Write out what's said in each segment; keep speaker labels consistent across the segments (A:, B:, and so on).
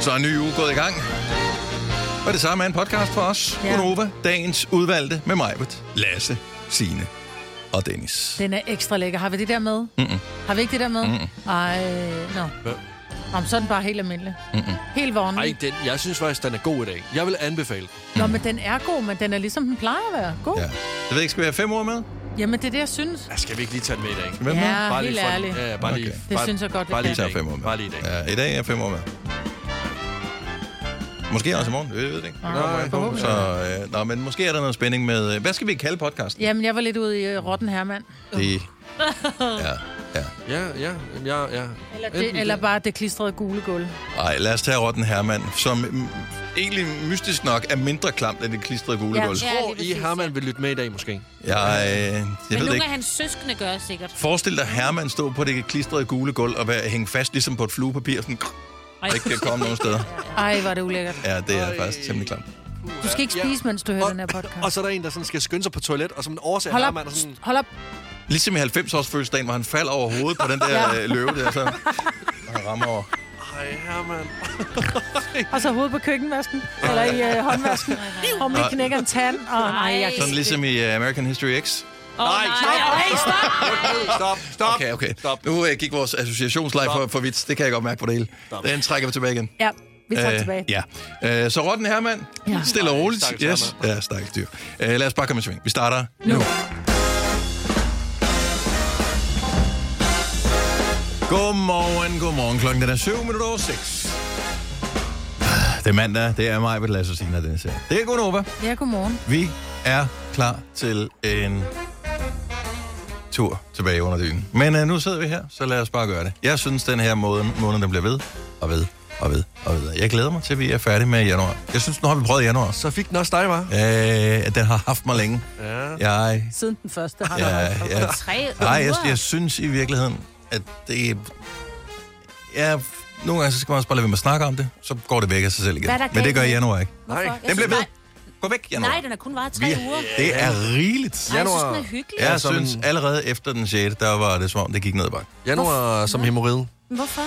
A: Så er en ny uge gået i gang. Og det samme er en podcast for os. Ja.
B: Ja.
A: Gunova, dagens udvalgte med mig, Lasse, Sine og Dennis.
B: Den er ekstra lækker. Har vi det der med?
A: Mm-mm.
B: Har vi ikke det der med?
A: Mm.
B: Ej, nå. Om så er den bare helt almindelig.
A: Mm-mm.
B: Helt vognlig.
C: Ej, den, jeg synes faktisk, den er god i dag. Jeg vil anbefale den.
B: Nå, men den er god, men den er ligesom den plejer at være. God.
A: Ja. Jeg ved ikke, skal vi have fem ord med?
B: Jamen, det er det, jeg synes.
C: Ja, skal vi ikke lige tage den med i dag?
A: Hvem
B: Ja,
A: med?
C: bare lige
B: helt
C: for den.
B: ærligt.
C: Ja, ja, bare lige.
A: Okay.
B: Det
C: bare,
B: synes jeg godt, vi
C: bare lige
B: kan.
C: i
A: tager
C: dag.
A: fem år med.
C: Bare lige i dag.
A: Ja, I dag er fem år med. Måske også i morgen, vi ved det ikke.
C: Nej,
B: forhåbentlig.
A: Så, øh, nå, men måske er der noget spænding med... øh, Hvad skal vi kalde podcasten?
B: Jamen, jeg var lidt ude i uh, Rotten Herman.
A: Det, ja, ja.
C: Ja, ja, jamen, ja, ja.
B: Eller,
C: Enten
B: det, eller bare det klistrede gule gulv.
A: Ej, lad os tage Rotten Herman, som mm, egentlig mystisk nok er mindre klamt end det klistrede gule
B: Ja,
A: gulv.
D: ja.
C: Tror
D: lige
C: I,
D: præcis,
C: Herman vil lytte med i dag måske?
A: Jeg, øh, jeg
D: Men
A: ved det
D: nogle
A: ikke.
D: af hans søskende gør det sikkert.
A: Forestil dig Herman stå på det klistrede gule gulv og være hænge fast ligesom på et fluepapir, sådan krr,
D: Ej.
A: og ikke kan komme nogen steder.
B: Ej, var det ulækkert.
A: Ja, det er faktisk temmelig klamt.
B: Du skal ikke spise, mens du hører den her podcast.
C: Og så er der en, der sådan skal skynde sig på toilet, og som en årsag
B: Hold
C: har
B: op,
C: man er sådan...
B: hold op.
A: Ligesom i 90-års fødselsdagen, hvor han falder over hovedet på den der
B: Ja.
A: øh, løve der, så og han rammer over.
C: Ej, Herman.
B: Og så hovedet på køkkenvasken, eller i øh, håndvasken. Om det knækker en tand. Og, nej, jeg kan
A: Sådan ligesom i øh, American History X.
D: Åh, nej, nej, nej, stop.
C: Stop, stop.
A: Okay, okay.
C: Stop.
A: Nu øh, gik vores associationsleg for, for vidt. Det kan jeg godt mærke på det hele. Den trækker vi tilbage igen.
B: Ja, vi tager
A: Øh,
B: øh, tilbage.
A: Ja. Øh, så Rotten Herman, ja. stille og roligt.
C: Ej, stakkels
A: Yes. Ja, stakkels dyr. Øh, lad os bare komme i sving. Vi starter nu.
B: Nu.
A: nu. Godmorgen, godmorgen. Klokken den er 7 minutter over 6. Det er mandag, det er mig, ved Lasse Sina, den her. Det er Gunova.
B: Ja, godmorgen.
A: Vi er klar til en tur tilbage under dynen. Men uh, nu sidder vi her, så lad os bare gøre det. Jeg synes, den her måde, måned, den bliver ved og ved og ved og ved. Jeg glæder mig til, at vi er færdige med januar. Jeg synes, nu har vi prøvet januar.
C: Så fik den også dig, var?
A: Øh, at den har haft mig længe.
C: Ja.
A: Jeg,
B: Siden den første har
A: Ja,
B: været.
A: ja.
D: Tre
A: nej, jeg,
D: uger.
A: jeg synes i virkeligheden, at det... Ja, nogle gange så skal man også bare lade være med at snakke om det, så går det væk af sig selv igen.
D: Hvad er der
A: Men det
D: galt
A: gør
D: med-
A: januar ikke.
C: Nej.
D: Hvorfor? Jeg
A: Den bliver ved.
D: synes,
A: Gå væk, januar.
D: Nej, nej, den har kun varet tre
A: Vi,
D: uger.
A: det er rigeligt.
D: Ej, jeg synes,
C: Januar.
D: den er hyggelig.
A: Jeg
C: Ja, som
A: synes
C: en-
A: allerede efter den 6. der var det som om, det gik ned ad bakke.
C: Januar som hemorrid.
D: Men Hvorfor?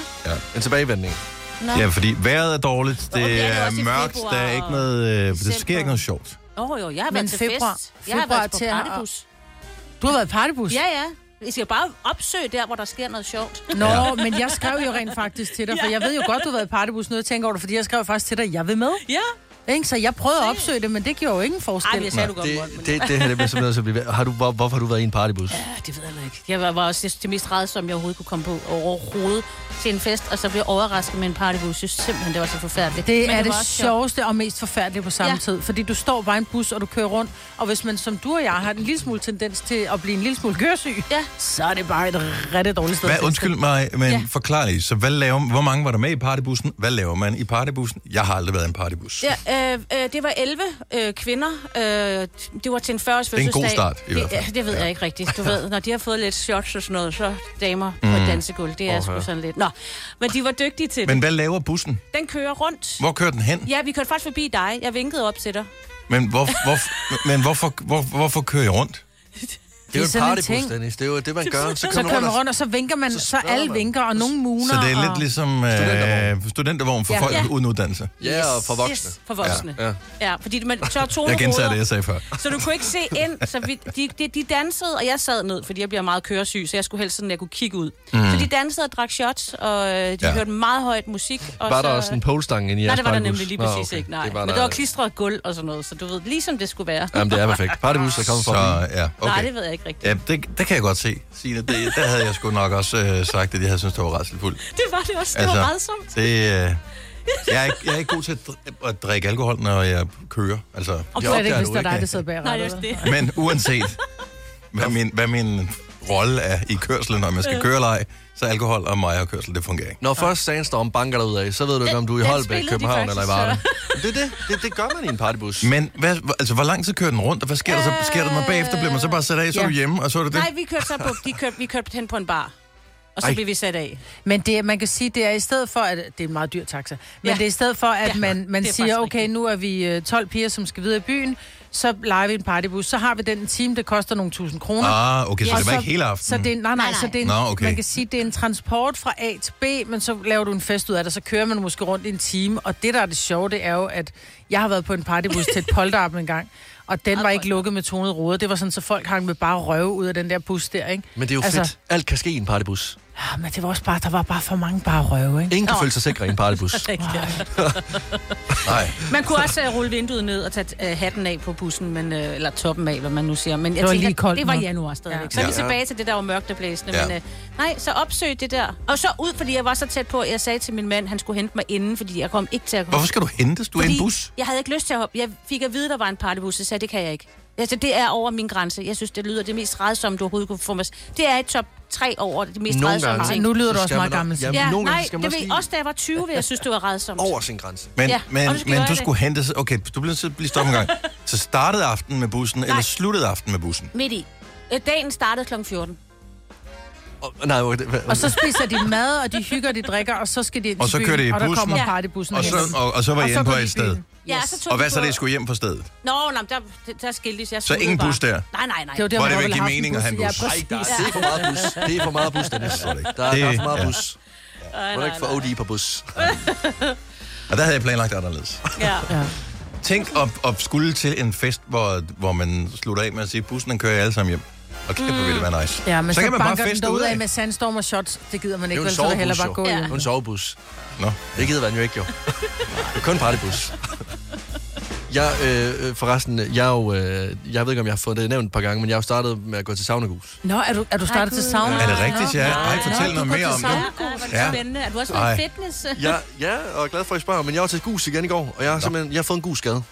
C: En tilbagevendning.
D: Nå.
A: Ja, fordi vejret er dårligt,
D: Nå, men
A: det
D: det er det
A: er
D: også i
A: mørkt,
D: februar
A: der er ikke noget, øh, det sker
D: december.
A: ikke noget sjovt.
D: Åh, oh, jo, jeg har
B: Men
D: været til
B: februar-
D: fest. Jeg har
B: februar
D: været til
B: til at-
D: partybus.
B: Du har været partybus.
D: Ja, ja. I skal bare opsøge der, hvor der sker noget sjovt.
B: Nå, ja. men jeg skrev jo rent faktisk til dig, for jeg ved jo godt, du har været i partybus. Nu jeg tænker over det, fordi jeg skrev faktisk til dig, jeg vil med.
D: Ja.
B: Ikke? Så jeg prøvede at opsøge det, men det gjorde jo ingen
D: Ej,
B: forskel.
D: men jeg sagde, du godt måtte.
C: Det, det, det her det bliver simpelthen så blive ved. Har du, hvor, hvorfor har du været i en partybus?
D: Ja, det ved jeg heller ikke. Jeg var- var også det mest redsomme, jeg overhovedet kunne komme på overhovedet til en fest, og så blev jeg overrasket med en partybus. Jeg synes simpelthen, det var så forfærdeligt. Men
B: Det er det
D: var også sjovt.
B: sjoveste og mest forfærdelige på samme ja.
D: Ja.
B: tid, fordi du står bare i en bus, og du kører rundt, og hvis man som du og jeg har en lille smule tendens til at blive en lille smule køresyg,
D: Ja.
B: så er det bare et rigtig dårligt sted. at
A: Hvad,
B: feste.
A: undskyld mig, men ja.
D: Ja.
A: forklar lige, så hvad laver, hvor mange var der med i partybussen? Hvad laver man i partybussen? Jeg har aldrig været i en partybus. Ja.
E: Ja, øh, øh, det var 11 øh, kvinder. Øh, det var til en 40-års
A: er en
E: fødselsdag.
A: god start, i hvert fald.
E: Det, ja, det ved
A: Ja.
E: ja. jeg ikke rigtigt. Du ved, når de har fået lidt shots og sådan noget, så damer mm. på et dansegulv. Det er
C: Åh, ja.
E: sgu sådan lidt. Nå, men de var dygtige til
A: Men
E: det.
A: hvad laver bussen?
E: Den kører rundt.
A: Hvor kører den hen? Ja.
E: Ja, vi kørte faktisk forbi dig. Jeg vinkede op til dig.
A: Men, hvor, hvor, men hvorfor, hvor, hvorfor kører jeg rundt?
C: Det er jo
B: Det er
C: en
B: sådan en
C: partybus,
B: ting.
C: Dennis. Det er jo det, man gør. Så
B: Så
C: kører man
B: kører
C: rundt
B: man
C: og
B: rundt, og så vinker man, så, så
C: spørger
B: alle
C: man.
B: vinker, og nogen muner.
A: Så det er
B: og...
A: lidt ligesom øh,
C: Studentervogn.
A: studentervogn for ja.
B: Ja.
A: folk
E: Ja.
A: uden uddannelse.
C: Ja, og for voksne.
E: Yes, for voksne.
C: Ja,
E: Ja,
C: ja.
E: ja. ja fordi man så tog
A: Jeg gentager det, jeg sagde før.
E: Så du kunne ikke se ind, så vi, de, de, de dansede, og jeg sad ned, fordi jeg bliver meget køresyg, så jeg skulle helst sådan, at jeg kunne kigge ud. Mm. Så de dansede og drak shots, og øh, de
A: Ja.
E: ja. hørte meget højt musik. Og
C: Var
E: så,
C: der også en polestang inde i
E: Nej,
C: jeres
E: det var der
C: partybus?
E: nemlig lige
C: Nå,
E: præcis
C: okay.
E: ikke, nej.
C: Det var
E: men
C: der...
E: der var klistret gulv og sådan noget, så du ved, ligesom det skulle være.
C: Jamen, det er perfekt. Partybus, der kommer fra
A: Så ja, okay.
E: Nej, det ved jeg ikke rigtigt.
A: Ja, det, det kan jeg godt se, Signe. Det, der havde jeg sgu nok også øh, sagt, at jeg havde syntes, det var rædselfuldt.
E: Det var det også, det altså, var redsomt.
A: det, øh, jeg, er ikke, jeg er ikke god til at, dri- at drikke alkohol, når jeg kører. Altså,
B: Og
C: Det
B: du er det ikke,
C: opdager
B: hvis
C: du
B: det er
C: ikke.
B: dig, der sidder
E: Nej,
B: bag
E: det er
B: rattet.
E: også det.
A: men uanset, hvad min, hvad min rolle er i kørslen, når man skal køre eller ej, så alkohol og mig og kørsel, det fungerer ikke.
C: Når først Sandstorm banker dig ud af, så ved du ikke, om du er i
E: Den
C: Holbæk,
E: spillede de
C: København
E: faktisk,
C: eller i Varde. Det, er det, det, det gør man i en partybus.
A: Men hvad, altså, hvor lang tid kører den rundt, og hvad sker der så? Sker der noget bagefter? Bliver man så bare sat af, så er du
B: Ja.
A: hjemme, og så er det det?
E: Nej, vi kørte så på, de kørte, vi kørte hen på en bar. Og så
C: Ej.
E: blev vi sat af.
B: Men det, man kan sige, det er i stedet for, at... Det er en meget dyr taxa. Men ja.
E: Ja.
B: det er i stedet for, at ja. man, man
E: det er
B: siger,
E: faktisk
B: okay,
E: rigtigt.
B: nu er vi øh, 12 piger, som skal videre i byen. så leger vi en partybus, så har vi den en time, det koster nogle tusind kroner.
A: Ah, okay, så
B: Og
A: det var ikke hele aftenen.
B: Så det er, nej, nej,
D: Nej,
B: nej,
D: nej.
B: så det er en,
A: Nå,
B: Nå,
A: okay.
B: okay. man kan sige, det er en transport fra A til B, men så laver du en fest ud af det, så kører man måske rundt i en time, og det, der er det sjove, det er jo, at jeg har været på en partybus til et polterappen en gang, og den var ikke lukket med tonet ruder. Det var sådan, så folk hang med bare røve ud af den der bus der, ikke?
C: Men det er jo altså...
B: Altså-
C: fedt. Alt kan ske i en partybus.
B: Ah, men det var også bare, der var bare for mange bare røve, ikke?
C: Ingen kan føle sig sikre i en partybus.
A: Nej.
D: Man kunne også uh, rulle vinduet ned og tage uh, hatten af på bussen, men, uh, eller toppen af, hvad man nu siger. Men jeg
B: Det var
D: tænker,
B: lige koldt
D: det var
B: nok.
D: januar stadigvæk.
B: Ja.
D: Ja. Så er vi
C: Ja.
D: tilbage til det, der var mørkt og blæsende.
A: Ja.
D: Ja. Men, uh, nej, så opsøg det der. Og så ud, fordi jeg var så tæt på, at jeg sagde til min mand, han skulle hente mig inden, fordi jeg kom ikke til at komme.
A: Hvorfor skal du hentes? Du er i en bus.
D: Jeg havde ikke lyst til at hoppe. Jeg fik at vide, der var en partybus, så jeg sagde, det kan jeg ikke. Altså, det er over min grænse. Jeg synes, det lyder det mest rædsomme, du overhovedet kunne få mig. Det er i top 3 over det mest
C: Nogle
D: rædsomme
C: gange-
D: ting.
B: Nu lyder
C: Så
B: du også
C: skal
B: meget
C: man op-
B: gammel.
C: Jamen,
D: Ja,
C: nogle gange
D: nej,
C: skal man
D: det
C: også
D: ved,
C: lige-
D: også da jeg var 20, vil jeg synes, det var rædsomt.
C: Over sin grænse.
A: Men,
D: Ja,
A: men,
D: og du skal
A: men
D: gøre
A: du
D: det.
A: skulle hentes... Okay, du bliver nødt til at blive stoppet en gang. Så startede aftenen med bussen, Nej. eller sluttede aftenen med bussen?
D: Midt i. Øh, Dagen startede kl. 14.
C: Oh, nej, okay, hvad-
B: Og så spiser de mad, og de hygger, de drikker, og så skal de ind
A: Og
B: til
A: så
B: byen,
A: kører de i
B: og der
A: bussen.
B: kommer
A: Ja.
B: partybussen.
A: Og
B: hen.
A: så, og, og så var I inde
B: går
A: på
B: de i
A: et sted.
B: byen.
D: Ja, så tog
A: Og
D: vi
A: hvad så,
D: på-
A: det I skulle hjem fra stedet?
D: Nå, nå, men der, der, der skiltes jeg.
A: Så ingen
D: umiddelbart.
A: bus der?
D: Nej, nej, nej.
B: Det var der,
A: Hvor
B: hvor
A: det
B: jeg ville
A: vil give
B: have haft en
A: mening at have en
B: Ja,
A: bus.
C: Ej,
B: præcis.
C: der er, det er for meget bus. Det er for meget bus, Dennis. Der, er-
A: det ikke.
C: der er
A: Det-
C: for meget
A: ja.
C: bus.
D: nej,
C: Må du ikke få OD på bus?
A: Og der havde jeg planlagt anderledes.
D: Ja.
A: Tænk at, at skulle til en fest, hvor, hvor man slutter af med at sige, bussen den kører jer alle sammen hjem. Og kæft, hvor vil det være nice.
B: Mm. Ja, men så,
A: så kan man bare
B: banker den
A: feste ud
B: derudad
A: af.
B: af med sandstorm og shots. Det gider man
C: Det
B: ikke,
C: er jo en
B: vel, så vil jeg hellere
C: sovebus,
B: bare
C: jo.
B: gå
C: Det
B: ja.
C: er jo en sovebus.
A: Nå.
C: Det gider man jo ikke, jo. Det er kun partybus. Jeg, øh, øh, forresten, jeg, er jo, øh, jeg ved ikke, om jeg har fået det nævnt et par gange, men jeg har jo startet med at gå til saunagus.
B: Nå, er du, er du startet til sauna?
A: Er det rigtigt, ja? Ej,
B: Nå,
A: fortæl
B: du
A: noget
B: går
A: mere
B: til
A: om det.
B: sauna.
D: Ej, hvor er det
A: Ja.
D: spændende. Er du også
A: Ej.
D: noget fitness?
C: Ja, ja, og er glad for, at I spørger, men jeg var til gus igen i går, og jeg har simpelthen jeg har fået en gusskade.
B: Og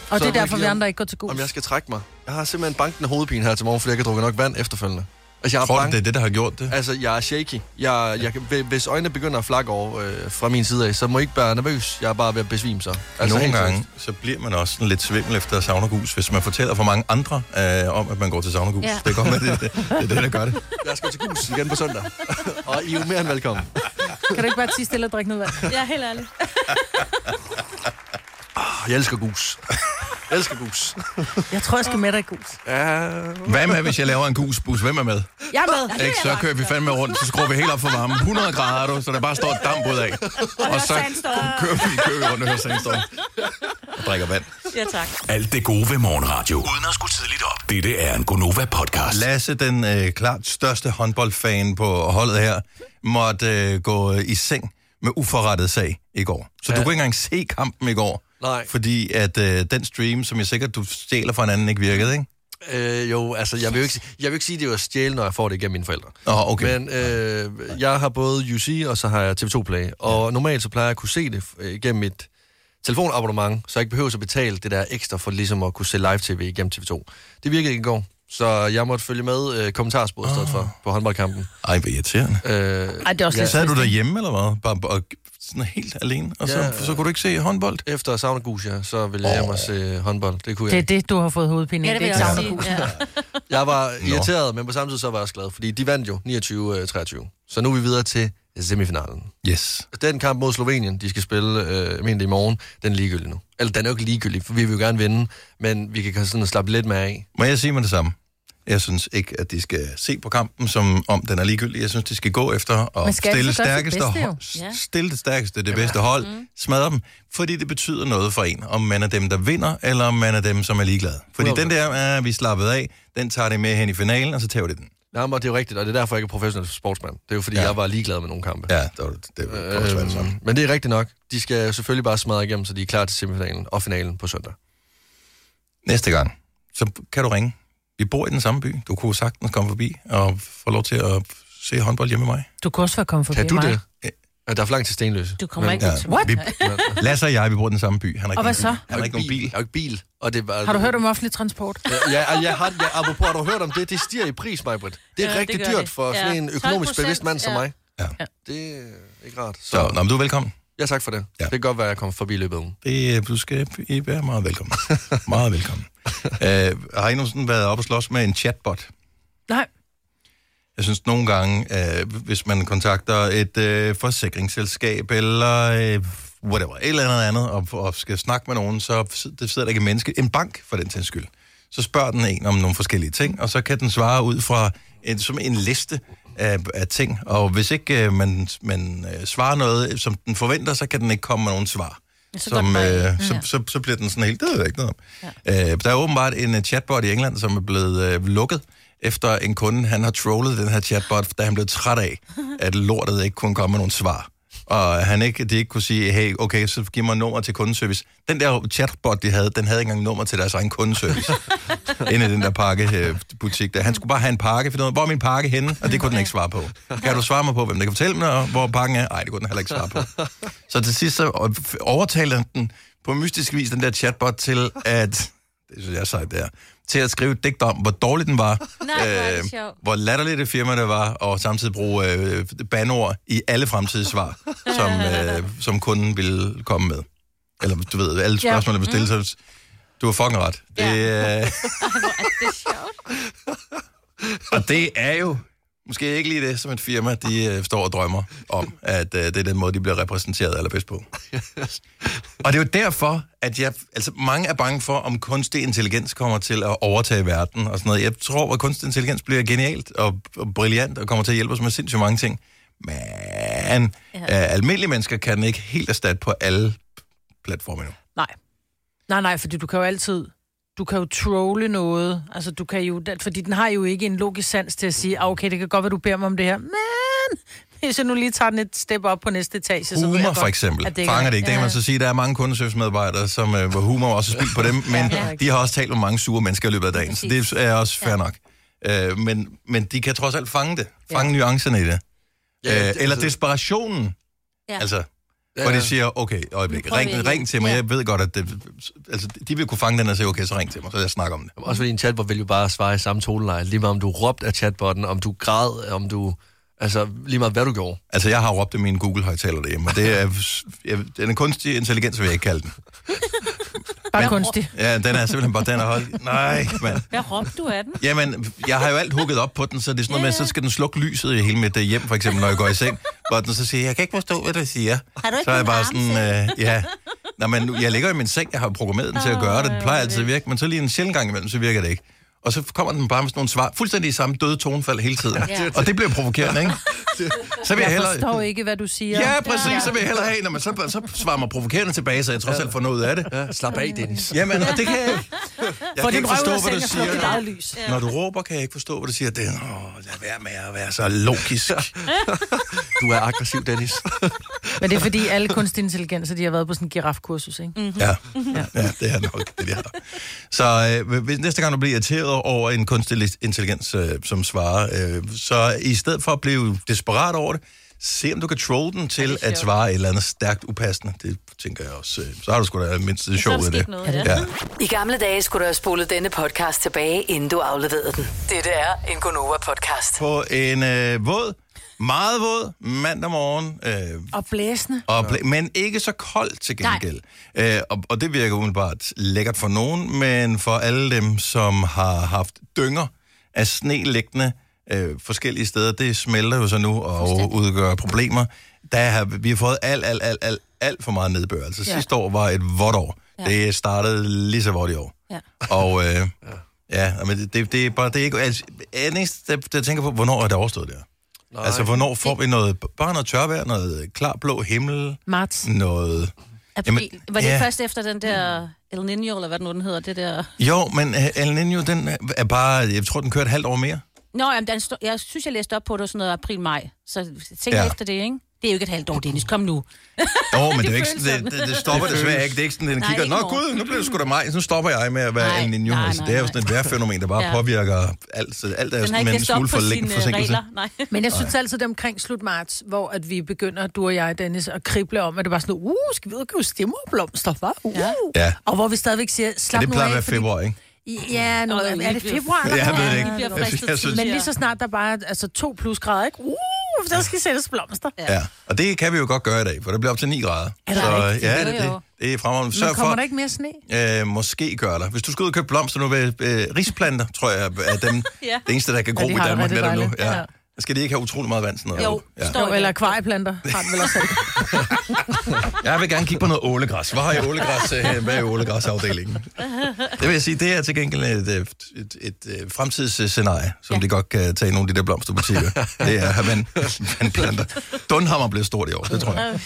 B: det
C: Så
B: er
C: er det
B: derfor, vi
C: lige om-
B: andre ikke går til gus.
C: Om jeg skal trække mig. Jeg har simpelthen bankende hovedpine her til morgen, fordi jeg ikke har drukket nok vand efterfølgende. Altså, jeg er
A: Tror du,
C: bange.
A: det er det, der har gjort det?
C: Altså, jeg er shaky. Jeg, jeg, kan- hvis øjnene begynder at flakke over øh, fra min side af, så må I ikke være nervøs. Jeg er bare ved at besvime sig.
A: Altså, Nogle
C: helt
A: gange,
C: seriøst.
A: så bliver man også sådan lidt svimmel efter saunagus, hvis man fortæller for mange andre øh, om, at man går til saunagus. Ja.
D: Ja.
A: Det kan godt være, det, det, det er det, der gør det.
C: Lad os gå til gus igen på søndag. og I er jo mere end velkommen.
B: Kan du ikke bare tige stille og drikke noget vand?
D: Ja, helt ærligt.
C: Åh, Ah, Jeg elsker gus. Jeg elsker gus.
B: Jeg tror, jeg skal med dig i gus.
C: Ja,
A: Hvad med, hvis jeg laver en gusbus? Hvem er med?
B: Jeg er med.
A: Ikke, så kører vi fandme rundt, så skruer vi helt op for varmen. 100 grader, du, så der bare står et damp ud af. Og så kører vi, kører vi rundt og hører sandstorm. Og drikker vand.
D: Ja, tak.
F: Alt det gode ved morgenradio. Uden at skulle tidligt op. Dette er en Gonova-podcast.
A: Lasse, den øh, klart største håndboldfan på holdet her, måtte øh, gå øh, i seng med uforrettet sag i går. Så ja. du kunne ikke engang se kampen i går.
C: Nej.
A: Fordi at øh, den stream, som jeg sikkert du stjæler fra en anden, ikke virkede, ikke?
C: øh, jo, altså, jeg vil, jo ikke, si- jeg vil ikke sige, at det var stjæle, når jeg får det igennem mine forældre.
A: Åh, okay.
C: Men øh, jeg har både UC, og så har jeg TV2 Play. Og normalt så plejer jeg at kunne se det øh, igennem mit telefonabonnement, så jeg ikke behøver at betale det der ekstra for ligesom at kunne se live-tv igennem TV2. Det virkede ikke i går, så jeg måtte følge med øh, kommentarsporet i stedet for på håndboldkampen.
A: Ah. Ej, hvor irriterende.
C: Øh,
B: Ej, det er også
C: Ja.
B: ja.
A: Sad du derhjemme, eller hvad? Bare, bare sådan helt alene, og så,
C: Ja.
A: ja. så kunne du ikke se håndbold?
C: efter Sauna Gus, ja, så ville jeg hjem og se håndbold. Det kunne jeg
B: Det er det, du har fået hovedpine i.
D: Ja,
B: Ja,
D: det
B: det,
D: vil
B: er
D: jeg
B: ikke
D: også
B: sauna
D: sige.
B: gus.
D: Ja.
C: Jeg var irriteret, men på samme tid så var jeg også glad, fordi de vandt jo 29-23. Så nu er vi videre til semifinalen.
A: Yes.
C: Den kamp mod Slovenien, de skal spille, øh, jeg mener det i morgen, den er ligegyldig nu. Eller den er jo ikke ligegyldig, for vi vil jo gerne vinde, men vi kan sådan slappe lidt med af.
A: Må jeg sige mig det samme? Jeg synes ikke, at de skal se på kampen, som om den er ligegyldig. Jeg synes, de skal gå efter
B: Man
A: at
B: skal
A: stille,
B: altid gøre sit
A: stærkeste,
B: bedste, jo.
A: ho- s- stille det stærkeste, det bedste hold, mm. smadre dem, fordi det betyder noget for en, om man er dem, der vinder, eller om man er dem, som er ligeglade. Fordi
C: Okay.
A: den der, øh, vi er slappet af, den tager det med hen i finalen, og så tager det den.
C: Nej, men det er jo rigtigt, og det er derfor, jeg ikke er professionel sportsmand. Det er jo fordi,
A: Ja.
C: ja. jeg var ligeglad med nogle kampe.
A: Ja, det var det. Det var, det var svært sammen.
C: Øhm, men det er rigtigt nok. De skal selvfølgelig bare smadre igennem, så de er klar til semifinalen og finalen på søndag.
A: Næste gang, så kan du ringe. Vi bor i den samme by. Du kunne sagtens komme forbi og få lov til at se håndbold hjemme med mig.
B: Du kunne også være kommet forbi
C: Kan du
B: mig.
C: det? Ja, der er for langt til Stenløse.
D: Du kommer
C: Men-
D: ikke ud til mig.
B: What?
A: Vi, Lasse og jeg, vi bor i den samme by. Han har ikke
B: Og hvad
A: nogen bil.
B: så?
A: Han har ikke nogen bil.
C: Jeg har jo ikke bil. Og det var,
B: Har du hørt om offentlig transport?
C: Ja, ja, jeg har, ja, apropos, har du hørt om det? Det stiger i pris, Majbrit. Det er ja,
D: Ja,
C: rigtig
D: det
C: det
D: gør
C: dyrt
D: det.
C: for ja. sådan
D: Ja.
C: en økonomisk
D: 12%,
C: bevidst mand som
D: ja.
C: mig.
A: Ja.
C: Det er ikke rart. Så,
A: Så, nå, men du er velkommen.
C: ja, tak for det.
A: Ja.
C: Ja. Det kan godt være, at jeg kommer forbi i løbet af ugen.
A: Det, øh, du skal I være meget velkommen. meget velkommen. Øh, har I nogensinde været oppe og slås med en chatbot?
B: Nej.
A: Jeg synes nogle gange, øh, hvis man kontakter et øh, forsikringsselskab eller øh, whatever, et eller andet andet, og, og skal snakke med nogen, så sid- det sidder der ikke et menneske, en bank for den til skyld. Så spørger den en om nogle forskellige ting, og så kan den svare ud fra en, som en liste af, af ting. Og hvis ikke øh, man, man øh, svarer noget, som den forventer, så kan den ikke komme med nogen svar. Så, som, øh, så, så, så bliver den sådan helt, det ved jeg ikke noget om. Ja. Øh, der er åbenbart en øh, chatbot i England, som er blevet øh, lukket, efter en kunde, han har trollet den her chatbot, da han blev træt af, at lortet ikke kunne komme med nogle svar. Og han ikke, de ikke kunne sige, hey, okay, så giv mig nummer til kundeservice. Den der chatbot, de havde, den havde ikke engang nummer til deres egen kundeservice. Inde i den der pakkebutik der. Han skulle bare have en pakke, for noget. hvor er min pakke henne? Og det kunne den ikke svare på. Kan du svare mig på, hvem der kan fortælle mig, og hvor pakken er? Nej, det kunne den heller ikke svare på. Så til sidst så overtalte han den på mystisk vis, den der chatbot, til at det synes jeg er sejt, det er, til at skrive et digt om, hvor dårlig den var, øh,
D: Nej, hvor er det sjovt.
A: hvor latterligt det firma det var, og samtidig bruge øh, banord i alle fremtidige svar, som, øh, som kunden ville komme med. Eller du ved, alle spørgsmål, der blev stillet, så
D: Mm-hmm.
A: du har fucking ret. Det, øh,
D: Det er sjovt.
A: og det er jo måske ikke lige det, som et firma, de øh, står og drømmer om, at øh, det er den måde, de bliver repræsenteret allerbedst på. Og det er jo derfor, at jeg, altså mange er bange for, om kunstig intelligens kommer til at overtage verden og sådan noget. Jeg tror, at kunstig intelligens bliver genialt og, og brilliant og kommer til at hjælpe os med sindssygt mange ting. Men ja. øh, almindelige mennesker kan den ikke helt erstatte på alle platforme endnu.
B: Nej. Nej, nej, fordi du kan jo altid... Du kan jo trolle noget. Altså, du kan jo... den- Fordi den har jo ikke en logisk sans til at sige, ah, okay, det kan godt være, du beder mig om det her, men... Hvis jeg nu lige tager den et step op på næste etage, så ved jeg
A: Humor
B: godt,
A: for eksempel.
B: at
A: Det
B: ikke er-
A: fanger det ikke. Det kan
B: Ja.
A: man så sige, der er mange kundeservicemedarbejdere, som, øh, hvor humor også er spildt på dem, men
B: ja.
A: de har også talt om mange sure mennesker i løbet af dagen, så det er også fair nok. Øh, men, men de kan trods alt fange det. Fange ja. nuancerne i det.
C: Ja,
A: Ja, øh,
C: det-
A: eller
C: altså-
A: desperationen. Ja.
D: Ja.
A: Altså,
C: Ja,
A: hvor
C: ja.
A: de siger, okay, øjeblik,
D: prøver vi
A: ring,
D: igen.
A: ring til mig.
D: Ja.
A: Jeg ved godt, at det, altså, de vil kunne fange den og sige, okay, så ring til mig, så jeg snakker om det.
C: Også fordi en chatbot vil jo bare svare i samme toneleje. Lige meget om du råbte af chatbotten, om du græd, om du... Altså, lige meget hvad du gjorde.
A: Altså, jeg har råbt i min Google-højtaler derhjemme, og det er, jeg, den er kunstig intelligens, vil jeg ikke kalde den.
B: Bare kunstigt.
A: Ja, den er simpelthen bare den er hold. Nej, mand.
D: Hvad råbte du af den?
A: Jamen, jeg har jo alt hugget op på den, så det er sådan noget med, så skal den slukke lyset i hele mit øh, hjem, for eksempel, når jeg går i seng. Hvor den så siger, jeg kan ikke forstå, hvad du siger.
D: Har du ikke
A: så er jeg bare
D: nogen
A: sådan, øh, ja. Nå, men nu- jeg ligger i min seng, jeg har programmeret den til at gøre det, den plejer altid at virke, men så lige en sjældent gang imellem, så virker det ikke. Og så kommer den bare med sådan nogle svar, fuldstændig i samme døde tonefald hele tiden. Ja. Og det bliver provokerende, ikke? Så vil jeg
B: Jeg
A: hellere...
B: forstår ikke, hvad du siger.
A: Ja, præcis, så vil jeg hellere have, når man så, så svarer mig provokerende tilbage, så jeg trods alt får noget ud af det.
C: Ja, slap af, Dennis.
A: Jamen, og det kan jeg ikke. Jeg
B: For
A: kan
B: din
A: ikke
B: røv ud
A: forstå,
B: af
A: hvad du
B: sengen og sluk dit
A: siger.
B: eget lys.
A: Når du råber, kan jeg ikke forstå, hvad du siger. Det, er, åh, lad være med at være så logisk.
C: Du er aggressiv, Dennis.
B: Men det er fordi, alle kunstig intelligenser, de har været på sådan en girafkursus, ikke? Mm.
A: Ja, ja det er nok det, det er. Så øh, hvis næste gang du bliver irriteret over en kunstig intelligens, øh, som svarer, øh, så i stedet for at blive desperat over det, se om du kan troll den til at svare et eller andet stærkt upassende. Det tænker jeg også. øh, Så har du sgu da mindst det sjovt
D: der
A: af det.
D: sket noget, ja.
A: ja.
G: I gamle dage skulle du have spolet denne podcast tilbage, inden du afleverede den. Dette er en Gonova-podcast.
A: På en øh, våd, meget våd mandag morgen, øh,
B: Og blæsende.
A: Og bla- men ikke så koldt til gengæld. Øh, og, og det virker umiddelbart lækkert for nogen, men for alle dem, som har haft dynger af sne liggende øh, forskellige steder, det smelter jo så nu og udgør problemer. Der har, vi har fået alt, alt, alt, alt, alt for meget nedbør. Altså ja. sidste år var et vådt år. Ja. Det startede lige så vådt i år.
D: Ja.
A: Og øh, ja, men det, det, det er bare, det er ikke... Altså, jeg er den eneste, der, der tænker på, hvornår er det overstået der? Nej. Altså, hvornår får vi noget, bare noget tørvejr, noget klar blå himmel,
B: Marts.
A: noget...
D: April.
A: Jamen,
D: var det
A: ja.
D: først efter den der El Niño, eller hvad det nu den hedder, det der...
A: Jo, men øh, El Niño, den er bare... Jeg tror, den kørte et halvt år mere.
D: Nå, jamen, den stod, jeg synes, jeg læste op på, det var sådan noget april-maj, så tænk
A: Ja.
D: ja. efter det, ikke? Det er jo ikke et halvt år, Dennis, kom nu.
A: Åh, men det, er jo
D: Det
A: ikke,
D: føles
A: det, det, det stopper det
C: Det
A: desværre
C: føles.
A: ikke. Det er ikke sådan, den
D: Nej,
A: kigger...
D: ikke
A: Nå
D: i morgen."
A: gud, nu bliver det sgu da mig. Så stopper jeg med at være
D: Nej,
A: El Niño.
D: nej,
A: altså,
D: nej,
A: det er jo
D: nej.
A: sådan et vejrfænomen, der bare
D: Ja.
A: påvirker alt, alt er
D: Den har
A: sådan
D: ikke
A: med en
D: læst op
A: smule
D: på
A: for
D: sine
A: længe
D: øh,
A: forsinkelse.
D: regler. Nej.
B: Men jeg synes altid, det er omkring slut marts, hvor at vi begynder, du og jeg, Dennis, at krible om, at det var sådan, uh, skal vi ud og købe stemmerblomster, hva? Uh.
A: Ja.
B: Og hvor vi stadigvæk siger,
A: Ja,
B: slap
A: det
B: nu
A: plejer
B: af,
A: at være
B: fordi-
A: februar, ikke?
B: I- Ja, nu,
D: Nå,
B: er det februar?
A: Ja, jeg ved det
D: Ja,
A: ikke.
D: vi bliver
A: Jeg
D: fristet
A: jeg synes,
D: til-
B: Men lige så snart der bare er altså, to plus grader, ikke? Uh, der skal sættes blomster. Ja.
A: Ja, og det kan vi jo godt gøre i dag, for det bliver op til 9 grader.
B: Er der rigtigt?
A: ja, det,
D: Jo, jo.
A: det, det er fremragende.
B: Men
A: Sørg
B: kommer
A: for,
B: der ikke mere sne?
A: Øh, måske gør der. Hvis du skal ud og købe blomster nu ved øh, risplanter, tror jeg, er dem, ja. det eneste, der kan gro
B: de
A: ja, i
B: har det
A: Danmark
B: rigtig
A: netop nu.
B: dejligt.
A: Ja.
B: Ja.
A: Skal de ikke have utrolig meget vand sådan noget?
E: Jo,
A: ja.
E: står
B: Jo, eller akvarieplanter har den vel også selv.
A: Jeg vil gerne kigge på noget ålegræs. Hvor har jeg ålegræs? øh, Hvad er ålegræsafdelingen? Det vil jeg sige, det er til gengæld et, øh, et, et, et øh, fremtidsscenarie, som ja. de godt kan tage i nogle af de der blomsterbutikker. Det er, at man, man planter. Dunhammer blev stort i år, det tror jeg.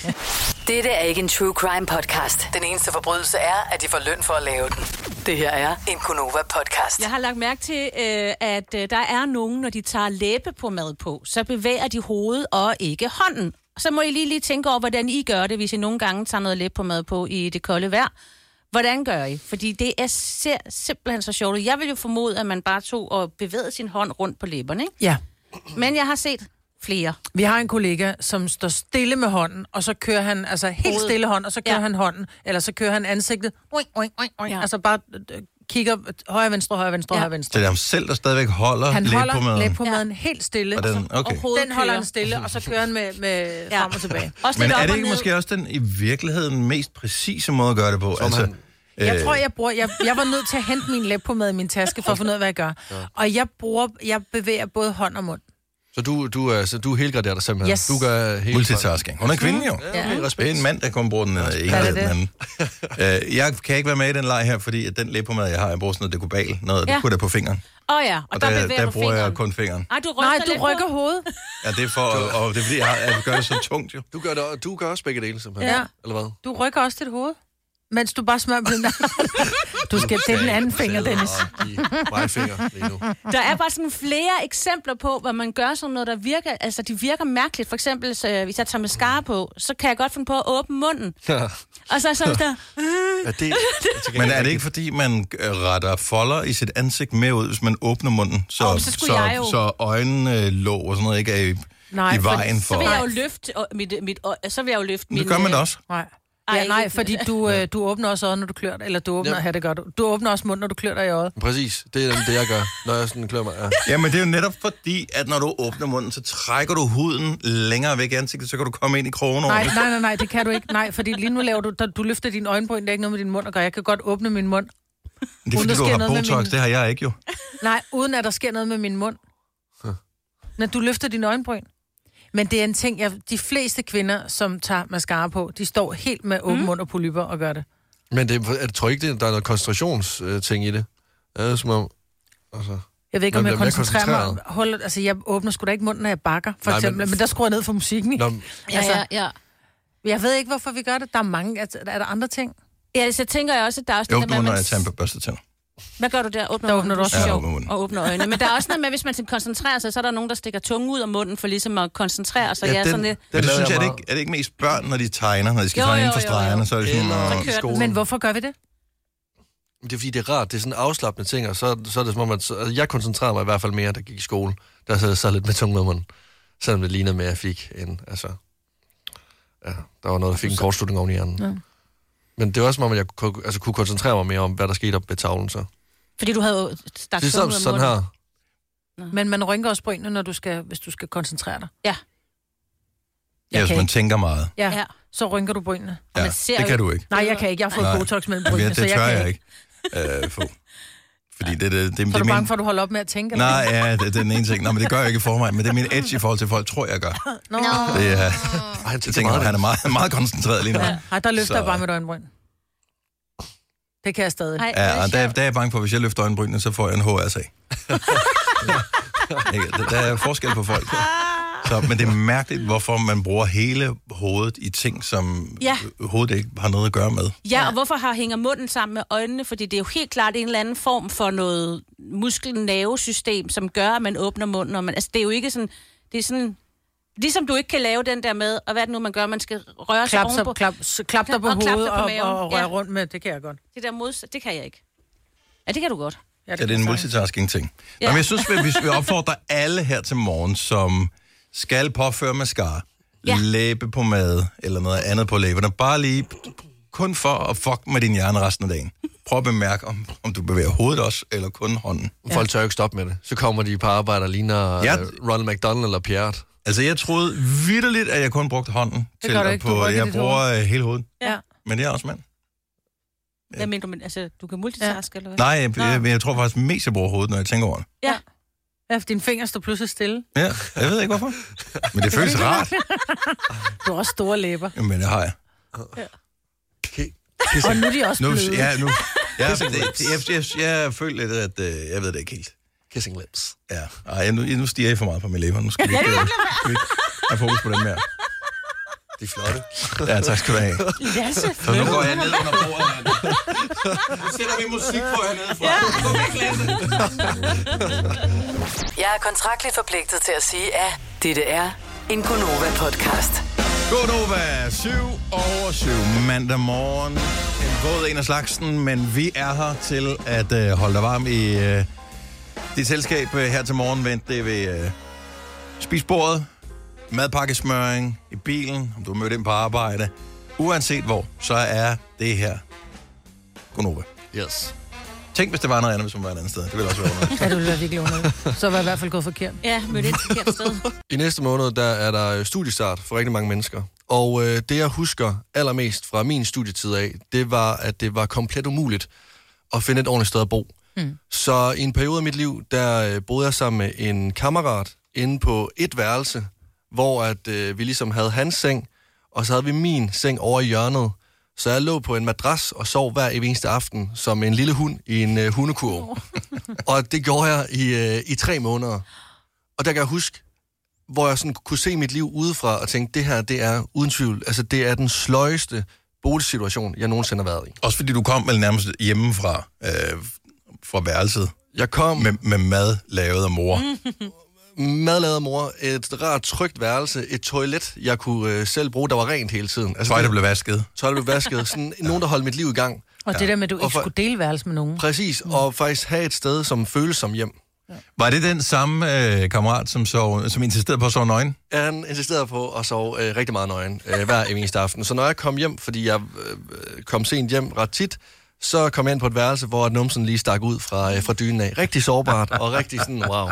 G: Dette er ikke en true crime podcast. Den eneste forbrydelse er, at de får løn for at lave den. Det her er en Gunova-podcast.
E: Jeg har lagt mærke til, øh, at øh, der er nogen, når de tager læbe på mad på, så bevæger de hovedet og ikke hånden. Så må I lige, lige tænke over, hvordan I gør det, hvis I nogle gange tager noget læbe på mad på i det kolde vejr. Hvordan gør I? Fordi det er ser simpelthen så sjovt. ud. Jeg vil jo formode, at man bare tog og bevægede sin hånd rundt på læberne. Ikke?
B: Ja.
E: Men jeg har set flere.
B: Vi har en kollega, som står stille med hånden, og så kører han, altså helt
E: Hovedet.
B: stille hånd, og så kører ja.
E: Ja.
B: han hånden, eller så kører han ansigtet, oing, oing, oing, oing. Ja. altså bare øh, kigger højre, venstre, højre, venstre, ja.
E: Ja.
B: højre,
A: Så
B: venstre.
A: det er ham selv, der stadigvæk holder,
B: Han
A: lidt
B: holder
A: på maden.
B: læb på maden ja. helt stille,
A: Og den, okay.
E: Og hovedet
B: den holder
E: kører.
B: han stille, og så kører han med, med ja.
E: Ja.
B: frem og tilbage.
E: Også
A: Men
E: lidt
A: er
E: op
A: det
E: og
A: ikke
E: ned.
A: måske også den i virkeligheden mest præcise måde at gøre det på?
C: Som han-
B: Jeg
A: øh,
B: tror, jeg bruger... Jeg, jeg var nødt til at hente min læb på mad i min taske, for at finde ud af, hvad jeg gør. Og jeg bruger... Jeg bevæger både hånd og mund.
C: Så du, du, er, så du helgraderer dig simpelthen?
B: Yes.
C: Du gør hele Altså,
A: Multitasking. Hun er kvinde jo.
C: Ja, okay,
A: Det er
C: respekt.
A: en mand, der kun bruger den øh, ene
B: Er
A: eller
B: det
A: den anden. Øh, jeg kan ikke være med i den leg her, fordi at den læbomad, jeg har, jeg bruger sådan noget dekobal. Noget, ja.
E: Ja.
A: Det putter jeg på fingeren.
E: Åh oh, ja, og,
A: Og
E: der,
A: der, der,
E: bevæger
A: der
E: du
A: bruger
E: fingeren.
A: jeg kun fingeren.
E: Ej, du ryster
B: Nej,
E: lidt
B: du
E: på-
B: rykker hovedet.
A: Ja, det er for, og, og det er fordi, jeg, har, jeg gør det så tungt jo.
C: Du gør, det, du gør også begge dele, simpelthen?
B: Ja.
C: Eller hvad?
B: Du rykker også dit hoved. Mens du bare smører på den Du skal til den anden finger, Dennis.
C: Mig finger lige nu.
E: Der er bare sådan flere eksempler på, hvad man gør sådan noget, der virker, altså de virker mærkeligt. For eksempel, så, øh, hvis jeg tager mascara på, så kan jeg godt finde på at åbne munden.
C: Ja.
E: Og så er jeg sådan der, "Øh?"
C: Ja, det,
A: Men er det ikke, fordi man øh, retter folder i sit ansigt med ud, hvis man åbner munden? Så,
E: Åh, men så skulle
A: så,
E: jeg jo.
A: så øjenlåg og sådan noget ikke er i,
B: Nej,
A: i
B: for-
A: vejen for...
E: så vil jeg jo
B: Nej.
E: løfte øh, mit, øh, mit, øh, så vil jeg jo løfte
A: Men
E: min...
A: det gør man da
E: øh,
A: også.
B: Nej.
E: Ej,
B: Ja, nej,
E: ikke-
B: fordi du, øh, du åbner også øjet, når du klør dig. Eller du åbner,
C: Ja.
B: ja. det godt. Du åbner også munden, når du klør dig i øjet.
C: Præcis, det er det, jeg gør, når jeg sådan klør mig. Ja.
A: Jamen, det er jo netop fordi, at når du åbner munden, så trækker du huden længere væk i ansigtet, så kan du komme ind i krogen over
B: Nej, nej, nej, nej, det kan du ikke. Nej, fordi lige nu laver du, der, du løfter din øjenbryn, det er ikke noget med din mund at gøre. Jeg kan godt åbne min mund.
A: Det er
B: Uden
A: fordi,
B: der
A: du
B: sker
A: har
B: noget med
A: botox,
B: min-
A: det har jeg ikke jo.
B: Altså, Nej, uden at der sker noget med min mund. Når du løfter din øjenbryn. Men det er en ting, jeg, de fleste kvinder, som tager mascara på, de står helt med åben mund og polypper og gør det.
C: Men det, er- jeg tror ikke, det, der er noget koncentrationsting i det. Ja, det er som om... Altså,
B: Jeg ved ikke, om
C: Man
B: jeg
C: bliver mere
B: koncentrerer mig.
C: koncentreret.
B: Hold, altså, jeg åbner sgu da ikke munden, når jeg bakker, for
C: Nej,
B: Nej,
C: men-
B: eksempel. Men, men der skruer jeg ned for musikken. Ikke?
C: Nå,
E: Ja,
B: Altså-
E: ja, ja.
B: Jeg ved ikke, hvorfor vi gør det. Der er mange. Er, er der andre ting?
E: Ja, så tænker jeg også, at der er også
A: Jeg
E: det der
A: åbner
E: med,
A: munden,
E: at
A: når
E: man...
A: jeg tager en børste tænder.
E: Hvad gør du der? Åbner
B: Der
E: munden?
B: åbner du også
E: Det er
A: Ja,
E: sjov.
A: åbner munden.
E: Og åbner øjnene. Men der er også noget med, at hvis man skal koncentrere sig, så er der nogen, der stikker tungen ud af munden for ligesom at koncentrere sig. Ja, jeg er sådan lidt...
A: Men det
C: lavede
A: synes jeg, er det,
C: meget.
A: ikke, er det ikke mest børn, når de tegner, når de skal
E: Jo,
A: tegne
E: jo,
A: inden for
E: jo, jo.
A: stregerne, så er det sådan,
C: Eller
A: øh,
E: Så kører
C: i
E: den.
C: skolen.
B: Men hvorfor gør vi det?
C: Det er fordi, det er rart. Det er sådan afslappende ting, og så, så er det som om, at så, altså, jeg koncentrerede mig i hvert fald mere, da jeg gik i skole. Der sad jeg så lidt med tungen med munden. Selvom det lignede mere, jeg fik en, altså... Ja, der var noget, der fik en kortslutning oven i hjernen. Ja. Men det var også som om, at jeg kunne, altså, kunne koncentrere mig mere om, hvad der skete op ved tavlen så.
E: Fordi du havde jo stak
A: Ligesom
C: Det er sådan,
E: tungen ud af
C: sådan
E: munden.
C: her.
B: Men man rynker også brynene, når du skal, hvis du skal koncentrere dig.
A: ja, hvis
B: kan
A: Altså, man tænker meget.
B: Ja,
E: Ja.
B: ja. så rynker du brynene.
A: Ja,
E: man ser
A: det
E: jo
A: kan du ikke.
B: Nej, jeg kan ikke. Jeg har fået
A: Nej.
B: botox mellem
A: Ja,
B: brynene, så
A: det
B: jeg
A: tør
B: kan
A: jeg ikke øh, få. Fordi det, det, det, det, det
B: Så er du
A: min...
B: bange for, at du holder op med at tænke? eller
A: Nej, ja, det, det er den ene ting. Nå, men det gør jeg ikke i forvejen, men det er min edge i forhold til folk, tror jeg gør.
B: hvad? Nå.
A: Det er,
C: Ej, han
A: jeg tænker, at han er meget, meget koncentreret lige nu.
B: Ja. Ej, der løfter
A: Så-
B: jeg bare mit øjenbryn. Det kan jeg stadig.
E: Ej,
A: Ja,
E: hvor er
A: og
E: det
A: der,
E: sjovt.
A: der er jeg bange for, at hvis jeg løfter øjenbrynene, så får jeg en HRSA. Ja. Ikke? der er forskel på folk. Så, men det er mærkeligt, hvorfor man bruger hele hovedet i ting, som ja.
E: Ja.
A: hovedet ikke har noget at gøre med.
E: Ja, og hvorfor har hænger munden sammen med øjnene? Fordi det er jo helt klart en eller anden form for noget muskelnervesystem, som gør, at man åbner munden. Og man, altså, det er jo ikke sådan... Det er sådan Ligesom du ikke kan lave den der med, og hvad er det nu, man gør, man skal røre sig
B: Klap, så,
E: ovenpå.
B: klap, så, klap dig på
E: Og klap dig
B: hovedet
E: på
B: og,
E: maven.
B: og, og rør
E: Ja.
B: rundt med. Det kan jeg godt.
E: Det der modsat, det kan jeg ikke. Ja, det kan du godt.
B: Ja,
A: Så det er en multitasking-ting. Ja.
E: Ja.
A: Nå, men jeg synes, at hvis vi opfordrer alle her til morgen, som skal påføre mascara, ja.
E: Ja.
A: læbe på mad eller noget andet på læberne, bare lige kun for at fuck med din hjerne resten af dagen. Prøv at bemærke, om, om du bevæger hovedet også, eller kun hånden.
C: Folk tør jo ikke stoppe med det. Så kommer de på arbejde og ligner
A: Ja.
C: ja. Ronald McDonald eller Pierre.
A: Altså, jeg troede vidderligt, at jeg kun brugte hånden til
B: gør du
A: at
B: ikke. Du
A: på...
B: rykker
A: Jeg
B: dit
A: bruger øh, hele hovedet.
B: Ja.
A: Men det er også mand.
E: Hvad mener du? Men, altså, du kan multitaske, ja. eller hvad?
A: Nej, øh, jeg,
E: Nå.
A: jeg, jeg tror faktisk mest, jeg bruger hovedet, når jeg tænker over det.
E: Ja.
B: Ja, for dine fingre står pludselig stille.
A: Ja, jeg ved ikke hvorfor. Men det føles rart.
B: Du har også store læber.
A: Men det har jeg.
C: Okay.
B: Og nu er de også
A: Nu,
B: bløde.
A: ja, nu, ja, det, jeg, jeg, jeg, jeg føler lidt, at øh, jeg ved det ikke helt.
C: Kissing lips.
A: Ja. Ej, nu, nu stiger I for meget på mine læber. Nu skal vi ikke, øh, skal vi ikke have fokus på dem mere.
C: De er flotte.
A: Ja, tak skal du have.
B: Lasse,
A: Så nu går jeg ned under bordet. Nu sætter vi musik på hernede fra.
G: Jeg er kontraktligt forpligtet til at sige, at dette er en Gunova-podcast.
A: Godnova, 7 over 7 mandag morgen. En våd en af slagsen, men vi er her til at øh, holde dig varm i øh, dit selskab øh, her til morgen. Vent det er ved øh, spisbordet, madpakkesmøring, i bilen, om du mødte ind på arbejde. Uanset hvor, så er det her Godnova.
C: Yes.
A: Tænk, hvis det var noget andet, hvis man var et andet sted. Det ville også være underligt.
B: Ja, det ville være virkelig underligt. Så var jeg i hvert fald gået forkert.
E: Ja, mødte et forkert sted.
C: I næste måned, der er der øh, studiestart for rigtig mange mennesker. Og øh, det, jeg husker allermest fra min studietid af, det var, at det var komplet umuligt at finde et ordentligt sted at bo. Mm. Så i en periode af mit liv, der øh, boede jeg sammen med en kammerat inde på et værelse, hvor at øh, vi ligesom havde hans seng, og så havde vi min seng over i hjørnet. Så jeg lå på en madras og sov hver evig eneste aften som en lille hund i en øh, hundekurv. og det gjorde jeg i, øh, i tre måneder. Og der kan jeg huske, hvor jeg sådan kunne se mit liv udefra og tænke, det her, det er uden tvivl, altså det er den sløjeste boligsituation, jeg nogensinde har været i.
A: Også fordi du kom vel nærmest hjemmefra, øh, fra værelset,
C: Jeg kom med
A: med, med mad lavet af mor. Mm.
C: madlader mor, et rart trygt værelse, et toilet, jeg kunne øh, selv bruge, der var rent hele tiden. Altså,
A: Tøj, der blev vasket.
C: tøj, der blev vasket, sådan nogen, der holdt mit liv i gang.
B: Og det der med, at du ikke
C: Og for-
B: skulle Mm. dele værelse med nogen.
C: Præcis, og faktisk have et sted, som føles som hjem.
A: Var det den samme øh, kammerat, som, sov, som insisterede på at sove nøgen?
C: Han insisterede på at sove øh, rigtig meget nøgen øh, hver eneste aften. Så når jeg kom hjem, fordi jeg øh, kom sent hjem ret tit, så kom jeg ind på et værelse, hvor at numsen lige stak ud fra, øh, fra dynen af. Rigtig sårbart og rigtig sådan, wow,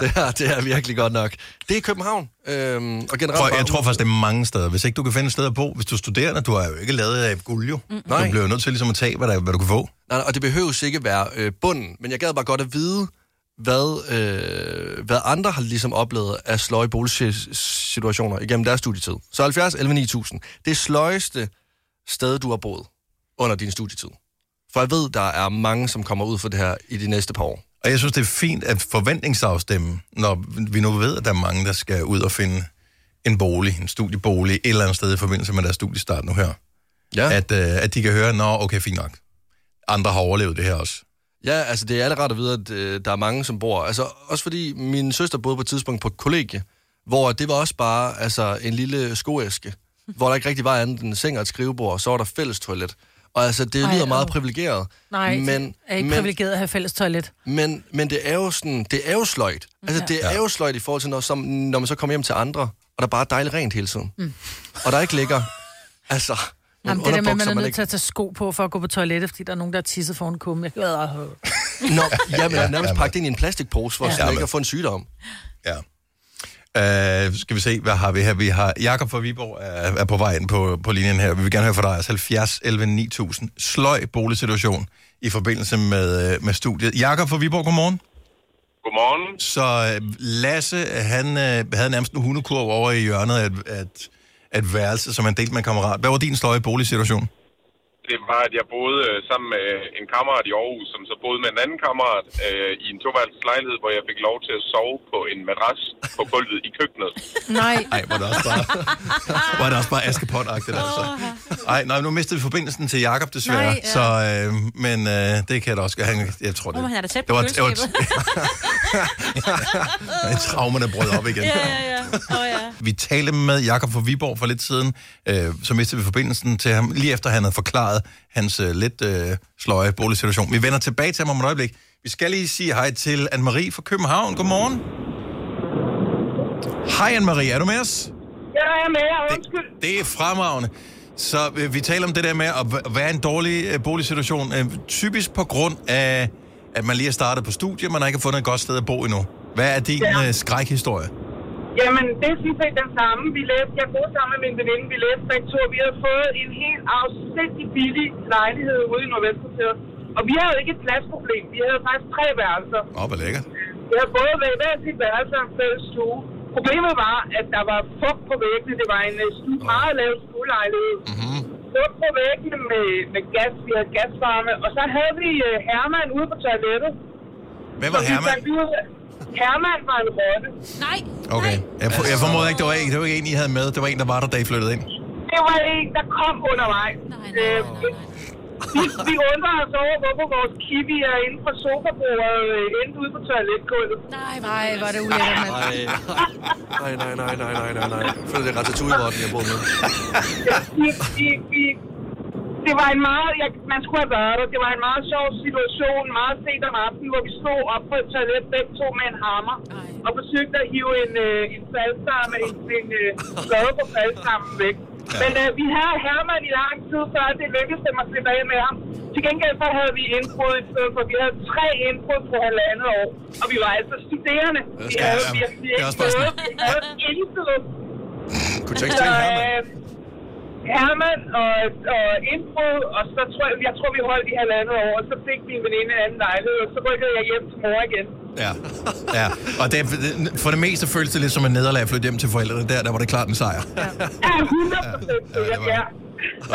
C: det her det er virkelig godt nok. Det er København. Øh, og generelt
A: For,
C: bare-
A: jeg tror faktisk, det er mange steder. Hvis ikke du kan finde et sted at bo, hvis du er studerende, du har jo ikke lavet af guld, jo. Mm. Du
C: Nej.
A: bliver jo nødt til ligesom at tage, hvad, der, hvad du kan få.
C: Nej, nej, og det behøves ikke være øh, bunden, men jeg gad bare godt at vide, hvad, øh, hvad andre har ligesom oplevet af sløje boligsituationer igennem deres studietid. Så 70, 11, 9000. Det sløjeste sted, du har boet under din studietid. For jeg ved, der er mange, som kommer ud for det her i de næste par år.
A: Og jeg synes, det er fint at forventningsafstemme, når vi nu ved, at der er mange, der skal ud og finde en bolig, en studiebolig, et eller andet sted i forbindelse med deres studiestart nu her.
C: Ja. At,
A: At, øh, at de kan høre, nå, okay, fint nok. Andre har overlevet det her også.
C: ja, altså det er allerede at vide, at øh, der er mange, som bor. Altså også fordi min søster boede på et tidspunkt på et kollegie, hvor det var også bare altså, en lille skoæske, hvor der ikke rigtig var andet end en seng og et skrivebord, og så var der fælles toilet. Og altså, det
B: Ej,
C: lyder meget
B: åh.
C: privilegeret.
B: Nej, men,
C: men,
B: er ikke
C: men,
B: privilegeret at have fælles toilet.
C: men, men det er jo sådan, det er jo sløjt. Altså, det er jo sløjt i forhold til, når, som, når man så kommer hjem til andre, og der er bare dejligt rent hele tiden. Mm. Og der ikke ligger, altså, nogle
B: Jamen, det der med, at man
C: underbukser,
B: er nødt
C: ikke-
B: til at tage sko på for at gå på toilettet, fordi der er nogen, der har tisset foran kummen. Jeg glæder mig.
C: Nå, jamen, ja, nærmest
A: jamen.
C: pakket ind i en plastikpose, for ja. sådan
A: Jamen.
C: ikke at få en sygdom.
A: Ja. Uh, skal vi se, hvad har vi her? Vi har Jakob fra Viborg er, er på vej ind på, på linjen her. Vi vil gerne høre fra dig. Altså 70 11 9000. Sløj boligsituation i forbindelse med, øh, med studiet. Jakob fra Viborg, godmorgen.
H: Godmorgen.
A: Så øh, Lasse, han øh, havde nærmest en hundekurv over i hjørnet af et, at, et værelse, som han delte med en kammerat. Hvad var din sløje boligsituation?
H: Det var, at jeg boede øh, sammen med øh, en kammerat i Aarhus, som så boede med en anden kammerat øh, i en toværelses lejlighed, hvor jeg fik lov til at sove på en madras på gulvet i køkkenet.
B: Nej,
A: Nej, var det også bare, var det også bare askepot-agtigt, altså. Ej, nej, nu mistede vi forbindelsen til Jakob desværre.
B: Nej, ja.
A: Så, øh, men øh, det kan jeg da også. Han, jeg tror det.
E: Åh, han er da tæt
A: det var,
E: på
A: det var, ja, traumerne brød op igen.
E: Ja, ja, ja. Åh, oh, ja.
A: Vi talte med Jakob fra Viborg for lidt siden, øh, så mistede vi forbindelsen til ham, lige efter han havde forklaret hans øh, lidt øh, sløje boligsituation. Vi vender tilbage til ham om et øjeblik. Vi skal lige sige hej til Anne-Marie fra København. Godmorgen. Hej Anne-Marie, er du med os?
I: Ja, jeg er med, og
A: Det,
I: undskyld.
A: det er fremragende. Så øh, vi taler om det der med at v- være i en dårlig øh, boligsituation, øh, typisk på grund af, at man lige er startet på studie, man har ikke fundet et godt sted at bo endnu. Hvad er din
I: Ja.
A: øh, skrækhistorie?
I: Jamen, det er sådan set den samme. Vi læste, jeg boede sammen med min veninde, vi læste begge to, og vi havde fået en helt afsindig billig lejlighed ude i Nordvestkvarteret. Og vi havde ikke et pladsproblem. Vi havde faktisk tre værelser.
A: Åh, oh, hvor lækkert.
I: Jeg havde både været hver sit værelse og en fælles stue. Problemet var, at der var fugt på væggene. Det var en øh, stue, meget lav stuelejlighed.
A: Mhm.
I: Mm-hmm. Fugt på væggene med, med gas. Vi havde gasvarme. Og så havde vi øh, Herman ude på toilettet.
A: Hvem var
I: Så vi
A: Herman?
I: fandt ud af- Herman var en rotte.
E: Nej,
A: Okay. Jeg, for, jeg formoder ikke, det var, en, det var ikke en, I havde med. Det var en, der var der, da I flyttede ind.
I: Det var en, der kom undervejs. Øhm,
E: nej, nej, nej, nej.
I: Vi, vi undrer os over, hvorfor vores kiwi er inde fra sofabordet, øh, endte ude på toiletgulvet.
E: Nej, hvor
B: Nej, var det ulækkert, mand.
C: Nej, nej, nej, nej, nej, nej, nej, nej. Jeg føler, det er ratatouille-rotten, jeg bor med.
I: Vi, vi, vi, det var en meget, jeg, man skulle have været der. Det var en meget sjov situation, meget sent om aftenen, hvor vi stod op på et toilet, begge to med en hammer, og forsøgte at hive en, øh, en faldstamme, en, en øh, plade på faldstammen væk. Men øh, vi havde Herman i lang tid, før det lykkedes dem at slippe af med ham. Til gengæld så havde vi indbrud i stedet for. Vi havde tre indbrud på halvandet år, og vi var altså studerende. Vi
A: Ja,
I: havde
A: ja,
I: virkelig
A: det er
I: ikke
A: også bare sådan.
I: noget. Vi havde intet.
A: Kunne tænke
I: Så,
A: til Herman.
I: øh, Herman og, og indbrud, og så tror jeg, jeg tror, vi holdt i halvandet år, og så fik min veninde en anden lejlighed, og så rykkede jeg hjem til mor igen.
A: Ja. ja. Og det, for det meste føltes det lidt som en nederlag at flytte hjem til forældrene. Der, der var det klart en sejr.
I: Ja, 100 procent,
A: Ja, ja,
I: ja,
A: det var
I: ja.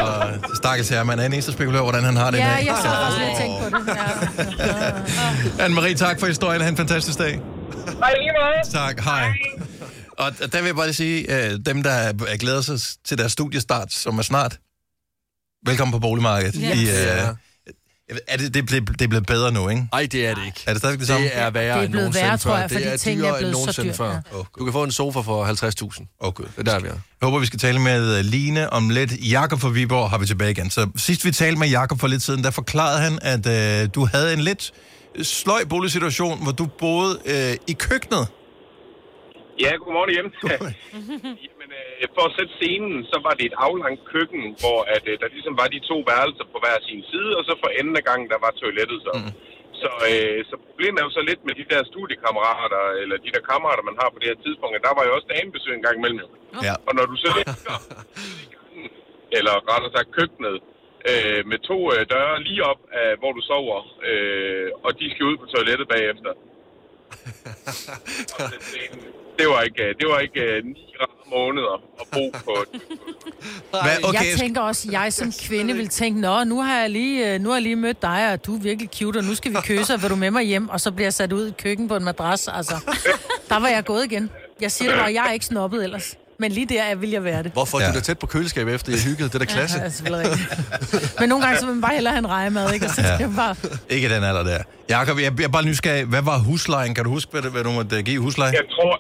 A: Og øh, stakkels Herman er den eneste spekulerer, hvordan han har det i
B: Ja,
A: dag.
B: jeg sad også lidt og tænkte på det. Ja.
A: Anne-Marie, tak for historien. Ha' en fantastisk dag.
I: Og i lige måde.
A: Tak, hej. Og der vil jeg bare lige sige, øh, dem, der er- glæder sig til deres studiestart, som er snart, velkommen på boligmarkedet.
E: Ja.
A: I, øh,
C: Ja.
A: jeg ved- er det, det, blev, det er blevet bedre nu, ikke?
C: Nej, det er det ikke.
A: Er det stadigvæk det samme?
C: Det er værre
B: Det er
C: end
B: blevet
C: nogensinde
B: værre, tror jeg,
C: før.
B: fordi
C: det er
B: ting er
C: dyrere
B: blevet
C: end
B: så
C: nogensinde
B: dyrt,
C: før.
A: ja.
C: Du kan få en sofa for 50.000.
A: Åh, gud.
C: Det er der, vi er.
A: Jeg håber, vi skal tale med øh, Line om lidt. Jakob fra Viborg har vi tilbage igen. Så sidst vi talte med Jakob for lidt siden, der forklarede han, at øh, du havde en lidt sløj boligsituation, hvor du boede øh, i køkkenet.
H: Ja, godmorgen hjem. Jamen, øh, for at sætte scenen, så var det et aflangt køkken, hvor at, øh, der ligesom var de to værelser på hver sin side, og så for enden af gangen, der var toilettet så. Mm. Så, øh, så problemet er jo så lidt med de der studiekammerater, eller de der kammerater, man har på det her tidspunkt, at der var jo også damebesøg en gang imellem. jo.
A: Ja.
H: Og når du så ligger ude i gangen, eller rettere sagt køkkenet, øh, med to øh, døre lige op, af, hvor du sover, øh, og de skal ud på toilettet bagefter. Og den scene, det var ikke, øh, det var ikke øh, ni rare måneder at bo på. et-
A: Hvad,
B: Jeg tænker også, at jeg som kvinde vil tænke, nå, nu har jeg lige, øh, nu har jeg lige mødt dig, og du er virkelig cute, og nu skal vi kysse, og vil du med mig hjem? Og så bliver jeg sat ud i køkken på en madras, altså. Der var jeg gået igen. Jeg siger det bare, jeg er ikke snobbet ellers. Men lige der vil jeg være det.
C: Hvorfor
A: Ja.
C: ja. du da tæt på køleskabet efter, jeg hyggede? Det er da klasse.
B: Ja, selvfølgelig rigtigt. Men nogle gange så vil man bare hellere have en rejemad, ikke? Og så skal ja.
A: Ja.
B: bare...
A: Ikke den alder der. Jakob, jeg, jeg er bare nysgerrig. Hvad var huslejen? Kan du huske, hvad, det- hvad du måtte øh, give i husleje?
H: Jeg tror,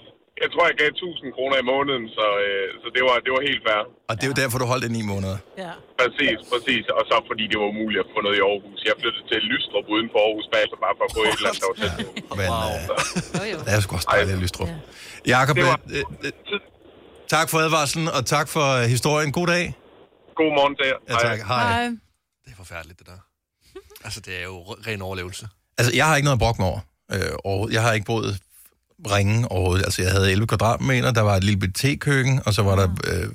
H: jeg tror, jeg gav 1000 kroner i måneden, så, øh, så det, var, det var helt fair.
A: Og det er jo derfor, du holdt det i ni måneder.
B: Ja.
H: Præcis, præcis. Og så fordi det var umuligt at få noget i Aarhus. Jeg flyttede til Lystrup uden for Aarhus bagefter, bare for at få et eller andet, der var tæt på.
A: Men, wow. øh, det er sgu også dejligt, Lystrup. Jakob,
H: Det
A: øh,
H: var-
A: øh, tak for advarslen, og tak for øh, historien. God dag.
H: God morgen der.
A: Ja, tak. Hej.
B: Hej.
C: Det er forfærdeligt, det der. Altså, det er jo ren overlevelse.
A: Altså, jeg har ikke noget at brokke mig over. Øh, overhovedet. jeg har ikke boet ringe overhovedet. Altså, jeg havde 11 kvadratmeter, der var et lille bitte køkken og så var der øh,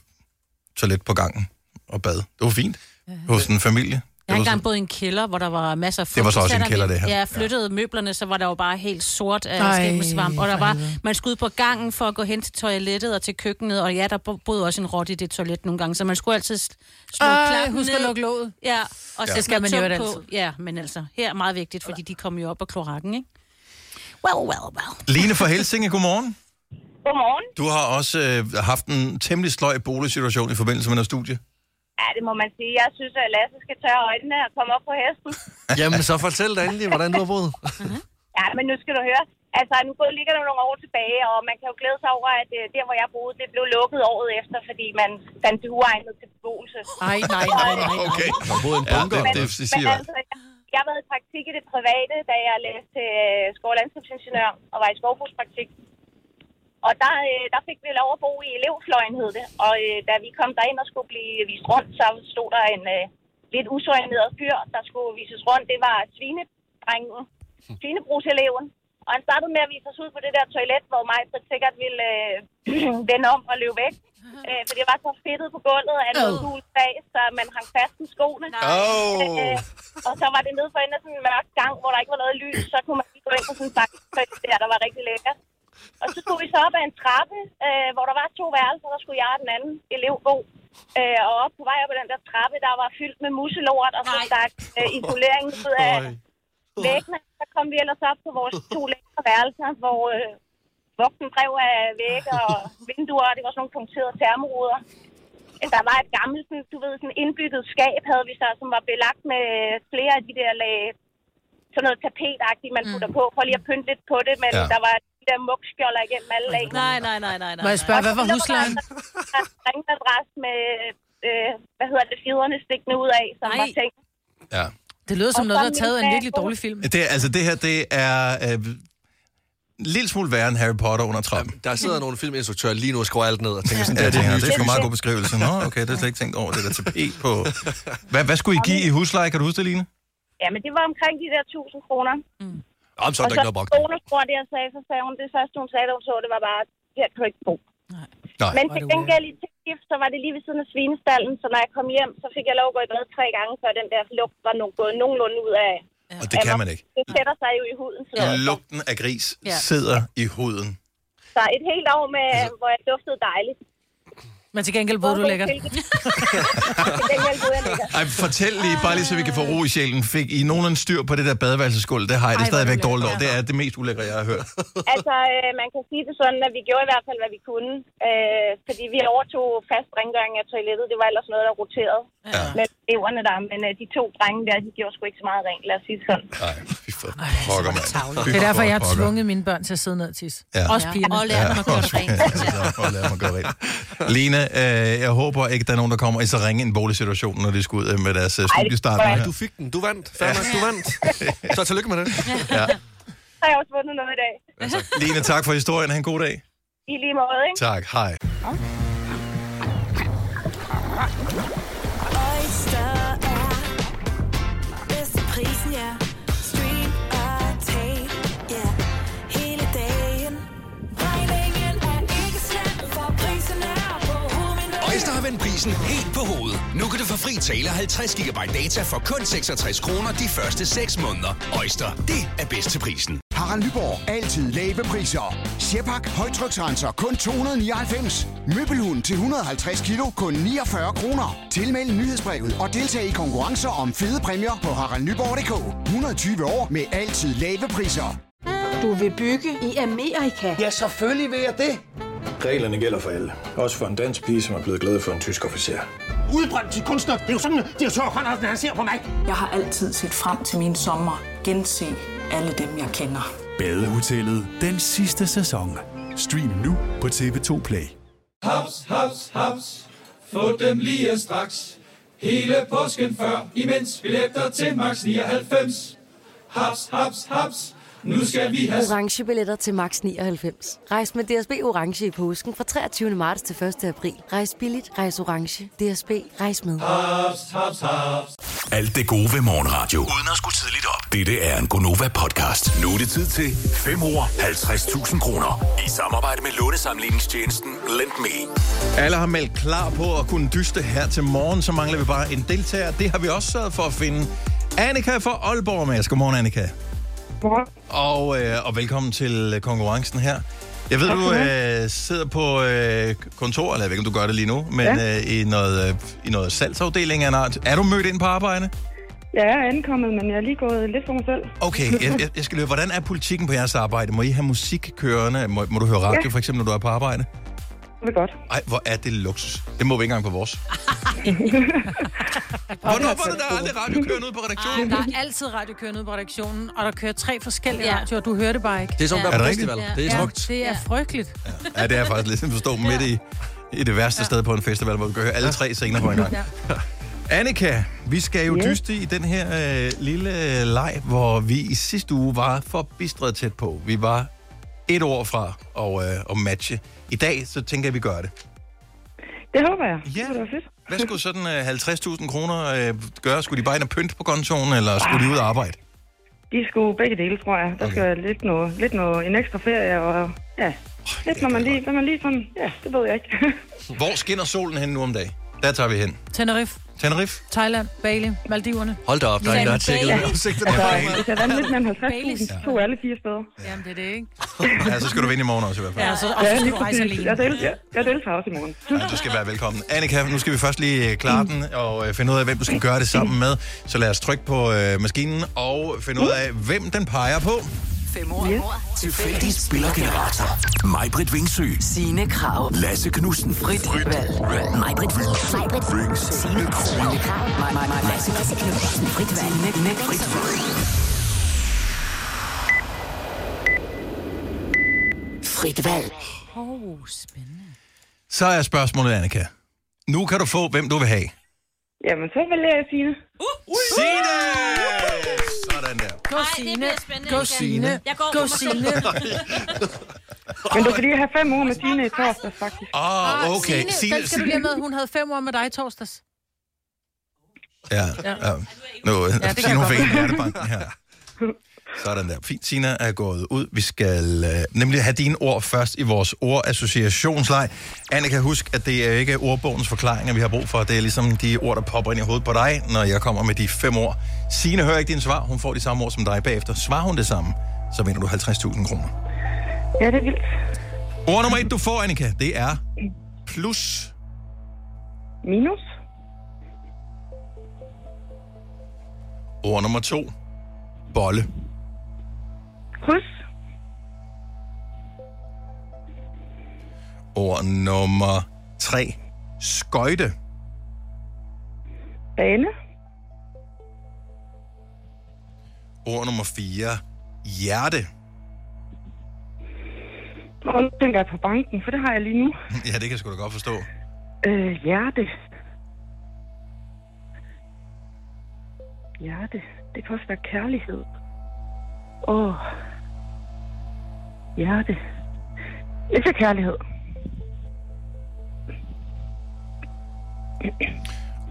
A: toilet på gangen og bad. Det var fint. Hos en familie.
E: Jeg har
A: var
E: engang boået i en kælder, hvor der var masser af fugt.
A: Det var så også en
E: Selvom
A: kælder,
E: vi-
A: det her.
E: Ja, flyttede ja. møblerne, så var der jo bare helt sort af
B: Ej,
E: skæbnesvamp. Og der
B: for
E: var,
B: helvede.
E: man skulle ud på gangen for at gå hen til toilettet og til køkkenet. Og ja, der bo- boede også en rot i det toilet nogle gange, så man skulle altid s- slå
B: Ej,
E: klappen
B: husk at
E: ned.
B: lukke låget.
E: Ja, og så
B: Det skal man jo
E: på.
B: altid.
E: Ja, men altså, her er meget vigtigt, fordi de kom jo op af kloakken, ikke? Well, well, well.
A: Line fra Helsinge, godmorgen.
I: Godmorgen.
A: Du har også øh, haft en temmelig sløj boligsituation i forbindelse med noget studie.
I: Ja, det må man sige. Jeg synes, at Lasse skal tørre øjnene og komme op på hesten.
C: Jamen, så fortæl dig endelig, hvordan du har boet.
I: Ja, men nu skal du høre. Altså, nu går- ligger der nogle år tilbage, og man kan jo glæde sig over, at øh, der, hvor jeg boede, det blev lukket året efter, fordi man fandt det uegnet til beboelse.
B: Ej, nej, nej, nej. nej.
A: Okay.
C: Du har boet i en
A: Ja,
C: bunker.
A: det, det, det siger jo alt.
I: altså, jeg, jeg har været i praktik i det private, da jeg læste til øh, skov- og landskabsingeniør og var i skovbrugspraktik. Og der, øh, der fik vi lov at bo i elevfløjen, hed det. Og øh, da vi kom derind og skulle blive vist rundt, så stod der en øh, lidt usorienteret fyr, der skulle vises rundt. Det var svinedrengen, svinebruseleven. Og han startede med at vise os ud på det der toilet, hvor mig sikkert ville øh, vende om og løbe væk.
J: Øh, fordi jeg var så fedtet på gulvet af noget
B: Ad.
J: gult bag, så man hang fast i skoene.
A: Åh.
J: Øh, og så var det nede for enden af sådan en mørk gang, hvor der ikke var noget lys. Så kunne man lige gå ind på sådan en bakkøj der, der var rigtig lækkert. Og så skulle vi så op ad en trappe, øh, hvor der var to værelser. Der skulle jeg og den anden elev bo. Øh, og op på vej op ad den der trappe, der var fyldt med musselort, og så
E: Nej.
J: stak øh, isoleringen ud af væggene. Så kom vi ellers op på vores to lækre værelser, hvor øh, vogten drev af vægge og vinduer, og det var sådan nogle punkterede termoruder. Øh, Der var et gammelt, sådan, du ved, sådan indbygget skab, havde vi så, som var belagt med flere af de der lag, sådan noget tapetagtigt,
E: Mm.
J: man putter på, for lige at pynte lidt på det, men
A: Ja.
J: ja. der var de der mugskjolder igennem alle lagene.
E: Nej, nej, nej, nej, nej.
B: Må jeg spørge, hvad var
J: Og så lå der
B: huslejen?
J: altså en Ringadress med, øh, hvad hedder det, fjederne stikkende ud af, som
E: Nej.
J: var tænkt.
A: Ja.
B: Det lyder som
J: Og
B: noget, der
J: så
B: er taget af en
J: min
B: virkelig
J: nabo-
B: dårlig film.
A: Det, er- altså, det her, det er øh, en lille smule værre end Harry Potter under trappen.
C: Der sidder nogle filminstruktører lige nu og skruer alt ned og tænker sådan, ja,
A: Ja, jeg
C: det
A: tænker,
C: er det
A: det er
C: nye
A: sgu en meget god beskrivelse. Nå, okay, det har jeg slet ikke tænkt over. Det der tapet på... Hvad, hvad skulle I give i husleje? Kan du huske det, Line?
J: Jamen, det var omkring de der 1000 kroner.
E: Mm.
C: Jamen, så er
J: Og
C: der
J: så
C: ikke noget brok.
J: bonusbror der sagde, så sagde hun, det første hun sagde, da hun så, det var bare, her kan du ikke bo.
A: Nej.
J: Men
B: Hvor er
J: til
B: det
J: gengæld i tilgift, så var det lige ved siden af svinestallen, så når jeg kom hjem, så fik jeg lov at gå i bad tre gange, før den der lugt var nogen, gået nogenlunde ud af.
A: Og det kan man ikke.
J: Det sætter sig jo i huden. Så,
A: Lugten af gris sidder i huden.
J: så et helt år, med,
C: Altså-
J: hvor jeg duftede dejligt.
B: Men til gengæld boede du lækkert.
J: Til gengæld boede jeg lækkert.
A: Ej, fortæl lige, bare lige så vi kan få ro i sjælen. Fik I nogen styr på det der badeværelsesgulv? Det har
B: Ej, hvor er
A: jeg det
B: det
A: stadigvæk dårligt over.
B: ulækkert.
A: Det er det mest ulækre, jeg har hørt.
J: Altså, øh, man kan sige det sådan, at vi gjorde i hvert fald, hvad vi kunne. Øh, fordi vi overtog fast rengøring af toilettet. Det var ellers noget, der roterede
A: Ja.
J: med eleverne der. Men øh, de to drenge der, de gjorde sgu ikke så meget rent, lad os sige det sådan.
A: Nej, fy for pokker, mand. Fy
B: Det er derfor,
A: for
B: jeg har
A: pokker.
B: tvunget mine børn til at sidde ned og tisse.
A: Ja.
B: Også pigerne.
E: Og lære dem at gøre det
A: også-
E: rent.
A: ja, og lad mig gøre rent. Line, øh, jeg håber ikke, der er nogen, der kommer i så ringe en boligsituation, når de skal ud øh, med deres øh, studiestart.
J: tror jeg
A: nu her.
C: Du fik den, du vandt, Fair nok, du vandt. Så tillykke med det.
J: Så har jeg også vundet noget i dag.
A: Line, tak for historien. Ha' en god dag.
J: I lige måde, ikke?
A: Tak, hej.
G: Oyster er bedst til prisen, ja. Stream og tag, ja. Hele dagen. Regningen er ikke slem, for prisen er på
F: Øjster har vendt prisen helt på hovedet. Nu kan du få fri tale 50 GB data for kun 66 kroner de første 6 måneder. Øjster, det er bedst til prisen.
K: Harald Nyborg. Altid lave priser. Sjehpak. Højtryksrenser. Kun 299. Møbelhund til 150 kilo. Kun 49 kroner. Tilmeld nyhedsbrevet og deltag i konkurrencer om fede præmier på haraldnyborg.dk. 120 år med altid lave priser.
G: Du vil bygge i Amerika?
K: Ja, selvfølgelig vil jeg det.
H: Reglerne gælder for alle. Også for en dansk pige, som er blevet glad for en tysk officer.
K: Udbrændt til kunstner. Det er jo sådan, at de har tørt, han ser på mig.
I: Jeg har altid set frem til min sommer, gense alle dem, jeg kender.
F: Badehotellet den sidste sæson. Stream nu på TV2 Play.
H: Haps, haps, haps. Få dem lige straks. Hele påsken før, imens billetter til max 99. Haps, haps, haps. Nu skal vi have
G: Orange billetter til max 99. Rejs med DSB Orange i påsken fra 23. marts til 1. april. Rejs billigt, rejs orange. DSB, rejs
H: Ah,
G: med.
F: Alt det gode ved morgenradio. Uden at skulle tidligt op. Dette er en Gonova-podcast. Nu er det tid til 5 år 50.000 kroner. I samarbejde med lånesamligningstjenesten Lend Me.
A: Alle har meldt klar på at kunne dyste her til morgen, så mangler vi bare en deltager. Det har vi også sørget for at finde. Annika fra Aalborg er med os. Godmorgen, Annika. Og, øh, og velkommen til øh, konkurrencen her. Jeg ved, du øh, sidder på øh, kontor, eller jeg ved ikke, om du gør det lige nu, men ja. øh, i, noget, øh, i noget salgsafdeling af en art. Er du mødt ind på arbejde?
I: Jeg er ankommet, men jeg er lige gået lidt for mig selv.
A: Okay, jeg, jeg, jeg skal løbe. Hvordan er politikken på jeres arbejde? Må I have musik kørende? Må, må du høre radio, ja. for eksempel, når du er på arbejde?
I: Det er godt.
A: Ej, hvor er det luksus. Det må vi ikke engang på vores. Hvornår var det, der er aldrig radio kørende ud på
B: Ej,
A: redaktionen?
B: der er altid radiokørende på redaktionen, og der kører tre forskellige
E: Ja.
B: radioer, du hører det bare ikke.
C: Det er som at
A: Er
C: være på
A: det
C: festival.
B: Ja.
C: Det er
B: Ja,
C: smukt.
B: det er frygteligt.
A: Ja, det er faktisk lidt sådan, du står midt i, i det værste sted på en festival, hvor du kan høre alle tre senere på en gang. Annika, vi skal jo dyste i den her øh, lille øh, leg, hvor vi i sidste uge var forbistret tæt på. Vi var et år fra at, øh, at matche. I dag, så tænker jeg, vi gør det.
I: Det håber jeg.
A: Ja.
I: Det var fedt.
A: Hvad skulle sådan øh, 50.000 kroner øh, gøre? Skulle de bare ind og pynte på kontoen, eller skulle de ud og arbejde?
I: De skulle begge dele, tror jeg. Der
A: Okay.
I: skal lidt noget, lidt noget, en ekstra ferie, og ja,
L: Lidt, når man lige, når man lige sådan, ja, det ved jeg ikke.
A: Hvor skinner solen hen nu om dagen? Der tager vi hen.
B: Tenerife,
A: Tenerife.
B: Thailand, Bali, Maldiverne.
A: Hold da op, der er en, der har tjekket
B: Ja.
A: lidt udsigt.
L: Det kan være lidt mere end 50.000,
B: Baileys.
L: to er alle fire steder.
B: Jamen, det er det, ikke?
A: Ja, så skal du vinde i morgen også i hvert fald.
B: Ja, så, og så skal
L: lige
B: du rejse
L: præcis.
B: alene.
L: Jeg deltager, jeg deltager også i morgen.
A: Ja, du skal være velkommen. Annika, nu skal vi først lige øh,
B: Mm.
A: klare den og øh, finde ud af, hvem du skal gøre det sammen med. Så lad os trykke på øh, maskinen og finde ud af, hvem den peger på.
M: Fem år yes.
F: Tilfældig spillergenerator. Majbrit Vingsø.
M: Signe Krav.
F: Lasse Knudsen.
M: Frit valg. Majbrit Vingsø. Signe Krav. Maj- Maj- Maj- Lasse Knudsen. Frit valg. Signe Krav. Frit valg.
E: Oh, spændende.
A: Så er spørgsmålet, Annika. Nu kan du få, hvem du vil have.
L: Jamen, så vælger jeg Signe.
B: Uh,
A: Signe! Sådan der.
B: Gå, Signe. Gå, Signe.
E: Jeg går
B: Gå, Signe.
L: Men det er fordi, jeg har fem år med Signe i torsdag, faktisk.
A: Åh, oh, okay.
B: Ah, Signe, den skal du lige have med. Hun havde fem år med dig i torsdags.
A: Ja, ja. Nu, ja,
B: kan
A: Signe,
B: jeg
A: hun
B: godt.
A: fik en hjertebanken her. Sådan der. Fint, Sina er gået ud. Vi skal øh, nemlig have dine ord først i vores ordassociationsleg. Annika, husk, at det er ikke ordbogens forklaringer, vi har brug for. Det er ligesom de ord, der popper ind i hovedet på dig, når jeg kommer med de fem ord. Sine hører ikke dine svar. Hun får de samme ord som dig bagefter. Svarer hun det samme, så vinder du 50.000 kroner.
L: Ja, det er vildt.
A: Ord nummer et, du får, Annika, det er plus.
L: Minus?
A: Ord nummer to, bolle.
L: Kryds?
A: Ord nummer tre, skøjte.
L: Bane?
A: Ord nummer 4. Hjerte.
L: Og nu tænker jeg på banken, for det har jeg lige nu.
A: Ja, det kan jeg sgu da godt forstå.
L: Øh, hjerte. Hjerte. Det kan også være kærlighed. Åh. Hjerte. Jeg siger kærlighed.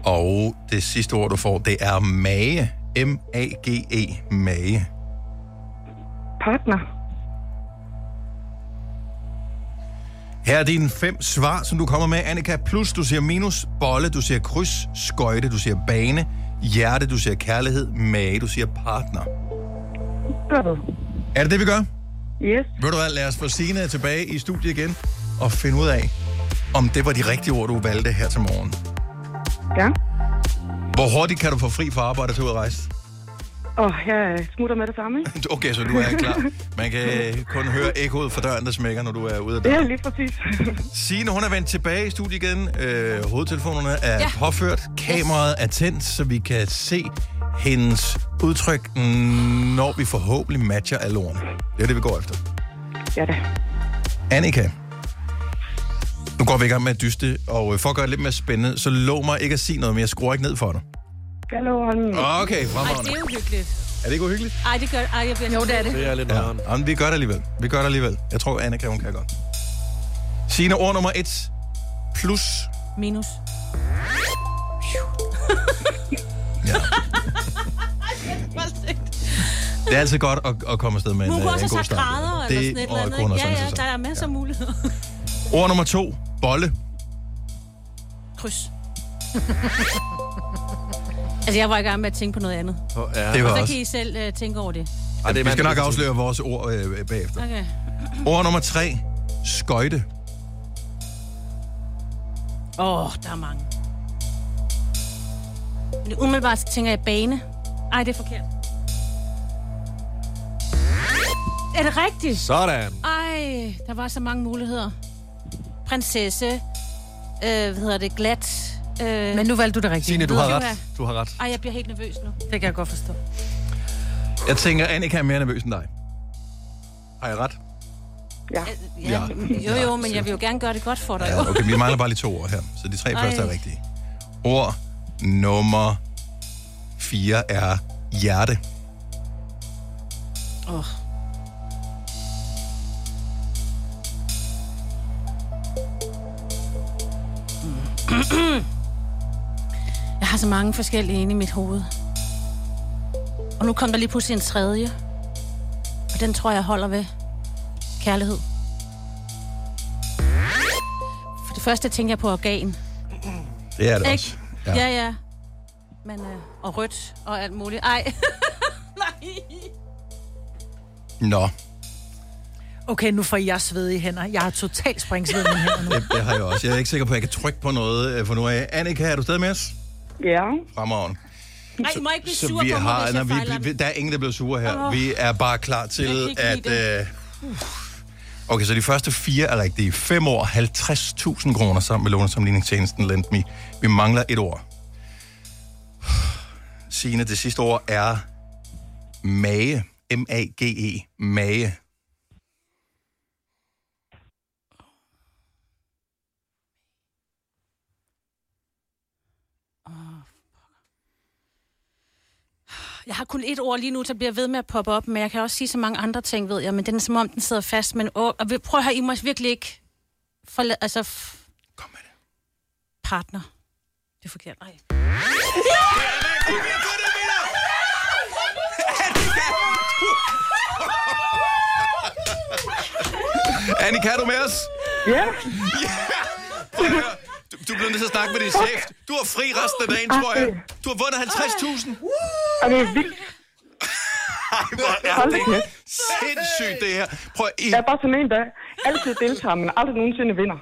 A: Og det sidste ord, du får, det er mage. M-A-G-E. E, Mage.
L: Partner.
A: Her er dine fem svar, som du kommer med, Annika. Plus, du siger minus, bolle, du siger kryds, skøjte, du siger bane, hjerte, du siger kærlighed, mage, du siger partner.
L: Godt.
A: Er det det, vi gør?
L: Yes.
A: Ved du hvad, lad os få Signe tilbage i studiet igen og finde ud af, om det var de rigtige ord, du valgte her til morgen.
L: Ja.
A: Hvor hurtigt kan du få fri fra arbejde til ud at rejse?
L: Åh, jeg smutter med det samme, ikke?
A: Okay, så du er klar. Man kan kun høre ekkoet fra døren, der smækker, når du er ude af
L: Det er
A: døren.
L: lige præcis.
A: Signe, hun er vendt tilbage i studiet igen. Øh, hovedtelefonerne er ja. påført. Kameraet er tændt, så vi kan se hendes udtryk, når vi forhåbentlig matcher alle ordene. Det er det, vi går efter.
L: ja da.
A: Annika. Nu går vi i gang med at dyste, og øh, for at gøre det lidt mere spændende, så lov mig ikke at sige noget, men jeg skruer ikke ned for dig.
L: Jeg lover en...
A: Okay, fremragende.
E: Det er uhyggeligt.
A: Er det ikke uhyggeligt?
E: Ej, det gør Ej, jeg bliver jo, det er det.
C: Det er lidt nøjeren.
A: Ja, men vi gør det alligevel. Vi gør det alligevel. Jeg tror, Annika, hun kan godt. Signe, ord nummer et. Plus.
E: Minus.
A: Det er altid godt at, at komme afsted med en,
E: Hun
A: øh,
E: kunne også
A: en
E: have
A: god
E: sagt
A: start.
E: grader eller sådan et eller andet.
A: kunne hun
E: ikke?
A: også
E: Ja, ja,
A: sagtens
E: der
A: have
E: er masser af muligheder.
A: sagt. Ord nummer to. Bolle.
E: Kryds. altså, jeg var i gang med at tænke på noget andet.
C: Hvor er-
A: Det var
E: Så
A: også.
E: kan I selv øh, tænke over det.
C: Ej, det er
A: Vi skal nok
C: mandag-
A: afsløre vores ord øh, bagefter.
E: Okay.
A: Ord nummer tre. Skøjte.
E: Åh, oh, der er mange. Men umiddelbart så tænker jeg bane. Ej, det er forkert. Er det rigtigt?
C: Sådan.
E: Ej, der var så mange muligheder. Prinsesse. Øh, hvad hedder det? Glat. Øh,
B: Men
E: Men...
B: nu valgte du det rigtige.
C: Signe, du har
E: Ved du
C: ret. Du har ret.
E: Ej, jeg bliver helt nervøs nu.
B: Det kan jeg godt forstå.
A: Jeg tænker, Annika er mere nervøs end dig. Har jeg ret? Ja.
E: Jo, Øh, jo, men jeg vil jo gerne gøre det godt for dig.
A: Ja, okay, vi mangler bare lige to ord her. Så de tre
E: Ej.
A: første er rigtige. Ord nummer fire er hjerte.
E: Åh. Oh. Jeg har så mange forskellige inde i mit hoved. Og nu kom der lige pludselig en tredje. Og den tror jeg holder ved kærlighed. først, der tænker jeg på organ.
A: Det er det
E: Ikke?
A: også.
E: Ja, ja. ja. Men, øh, og rødt og alt muligt. Ej. Nej.
A: Nå,
B: Okay, nu får jeg svedige hænder. Jeg har totalt springsved i mine hænder nu.
A: det, det har jeg også. Jeg er ikke sikker på, at jeg kan trykke på noget øh, for nu af. Annika, er du stadig med os?
L: Ja.
A: Fremragende.
E: Nej, I må ikke blive
A: Så
E: sur
A: vi
E: på mig,
A: har,
E: hvis
A: nej,
E: jeg
A: vi,
E: fejler
A: vi,
E: den.
A: der er ingen, der bliver sure her.
E: Åh.
A: Vi er bare klar
E: Jeg
A: til,
E: kan
A: at...
E: ikke lide
A: Øh, okay, så de første fire er rigtige. 5 år, 50.000 kroner sammen med lånesamligningstjenesten Lend Me. Vi mangler et ord. Signe, det sidste ord er mage. M-A-G-E. E. Mage.
E: Jeg har kun et ord lige nu, der bliver ved med at poppe op, men jeg kan også sige så mange andre ting, ved jeg. Men den er som om, den sidder fast. Men åh, og vi- prøv at høre, I må virkelig ikke forlade... Altså... F- Kom med det. Partner. Det er forkert. Ej.
A: Annika, er du med os?
L: Ja.
A: Prøv at høre. Du, du bliver nødt til at snakke med din chef. Du har fri resten af dagen, tror jeg. Du har vundet 50.000.
L: Og Ah, det er vildt.
A: Ej, hvor er
L: Hold da
A: det
L: kæft.
A: sindssygt, det her. Prøv, i,
L: Jeg er bare sådan en, der altid deltager, men aldrig nogensinde vinder.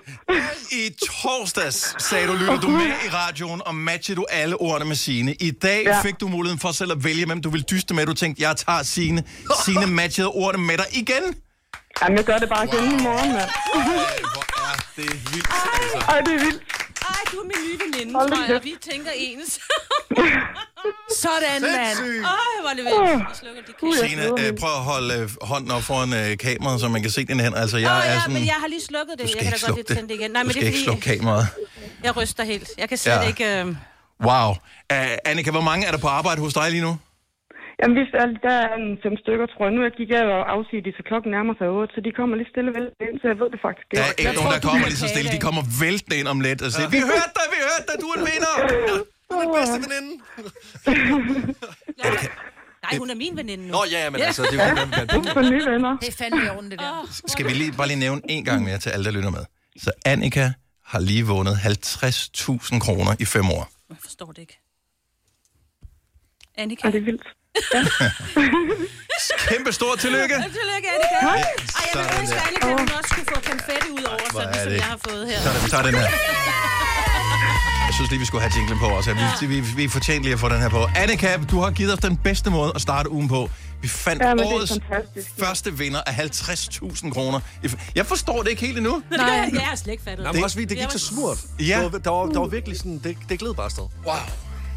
A: i torsdags sagde du, lytter du med i radioen, og matchede du alle ordene med Sine. I dag
L: Ja.
A: fik du muligheden for selv at vælge, hvem du vil dyste med. Du tænkte, jeg tager Sine. Sine matchede ordene med dig igen.
L: Jamen, jeg gør det bare igen i morgen, mand.
A: Det er vildt, altså.
L: Ej, det er vildt.
E: Ej, du er min nye veninde,
L: Hold da
E: tror jeg.
L: kæft.
E: Vi tænker ens.
B: Sådan, mand.
A: Sindssygt.
E: Ej, hvor er det vildt. Vi slukker de kæft.
A: Sine, øh, prøv at holde øh, hånden op foran øh, kameraet, så man kan se dine hænder. Altså,
E: Åh
A: jeg
E: oh,
A: er
E: ja,
A: sådan...
E: men jeg har lige slukket det.
A: Du
E: Jeg
A: skal
E: kan da godt
A: ikke slukke
E: lige tænde det igen.
A: det.
E: Nej,
A: Du
E: men det er
A: skal ikke slukke
E: fordi, øh,
A: kameraet.
E: jeg ryster helt. Jeg kan slet
A: Ja.
E: ikke... Øh...
A: Wow. Uh, Annika, hvor mange er der på arbejde hos dig lige nu?
L: Jamen, vi er, der er en fem stykker, tror jeg. Nu gik jeg og afsiger de, så klokken nærmer sig 8, så de kommer lige stille vel ind, så jeg ved det faktisk
A: Der
L: ikke.
A: er ikke nogen, der kommer lige så stille. De kommer væltende ind om lidt og siger, vi hørte dig, vi hørte dig, du er en vinder.
C: Du er den bedste veninde.
E: Nej, hun er min veninde nu.
C: Nå, ja, ja, men altså, det er jo gerne,
L: Ikke for nye venner.
B: Det er fandme i orden, det der.
A: Skal vi lige, bare lige nævne en gang mere til alle, der lytter med. Så Annika har lige vundet 50.000 kroner i fem år.
E: Jeg forstår det ikke.
L: Og
E: Annika.
L: det er vildt.
A: Kæmpe stor tillykke.
E: Tillykke, Annika. Ej, jeg
A: Sådan
E: ville ønske,
A: der.
E: at Annika hun også skulle få konfetti ud over,
A: hvor
E: sådan
A: er
E: som
A: det
E: ligesom jeg har fået her.
A: Så er det, vi tager den her. Jeg synes lige, vi skulle have jinglen på også. Vi, vi, vi fortjente lige at få den her på. Annika, du har givet os den bedste måde at starte ugen på. Vi fandt
L: Ja, men det er
A: årets
L: fantastisk.
A: første vinder af 50.000 kroner. Jeg forstår det ikke helt endnu.
E: Nej, jeg har slet ikke fattet.
C: Jamen,
A: Det-
C: det, også, fordi det gik så smurt.
A: Ja.
C: Der var, der, var, der var virkelig sådan, det, det gled bare afsted.
A: Wow.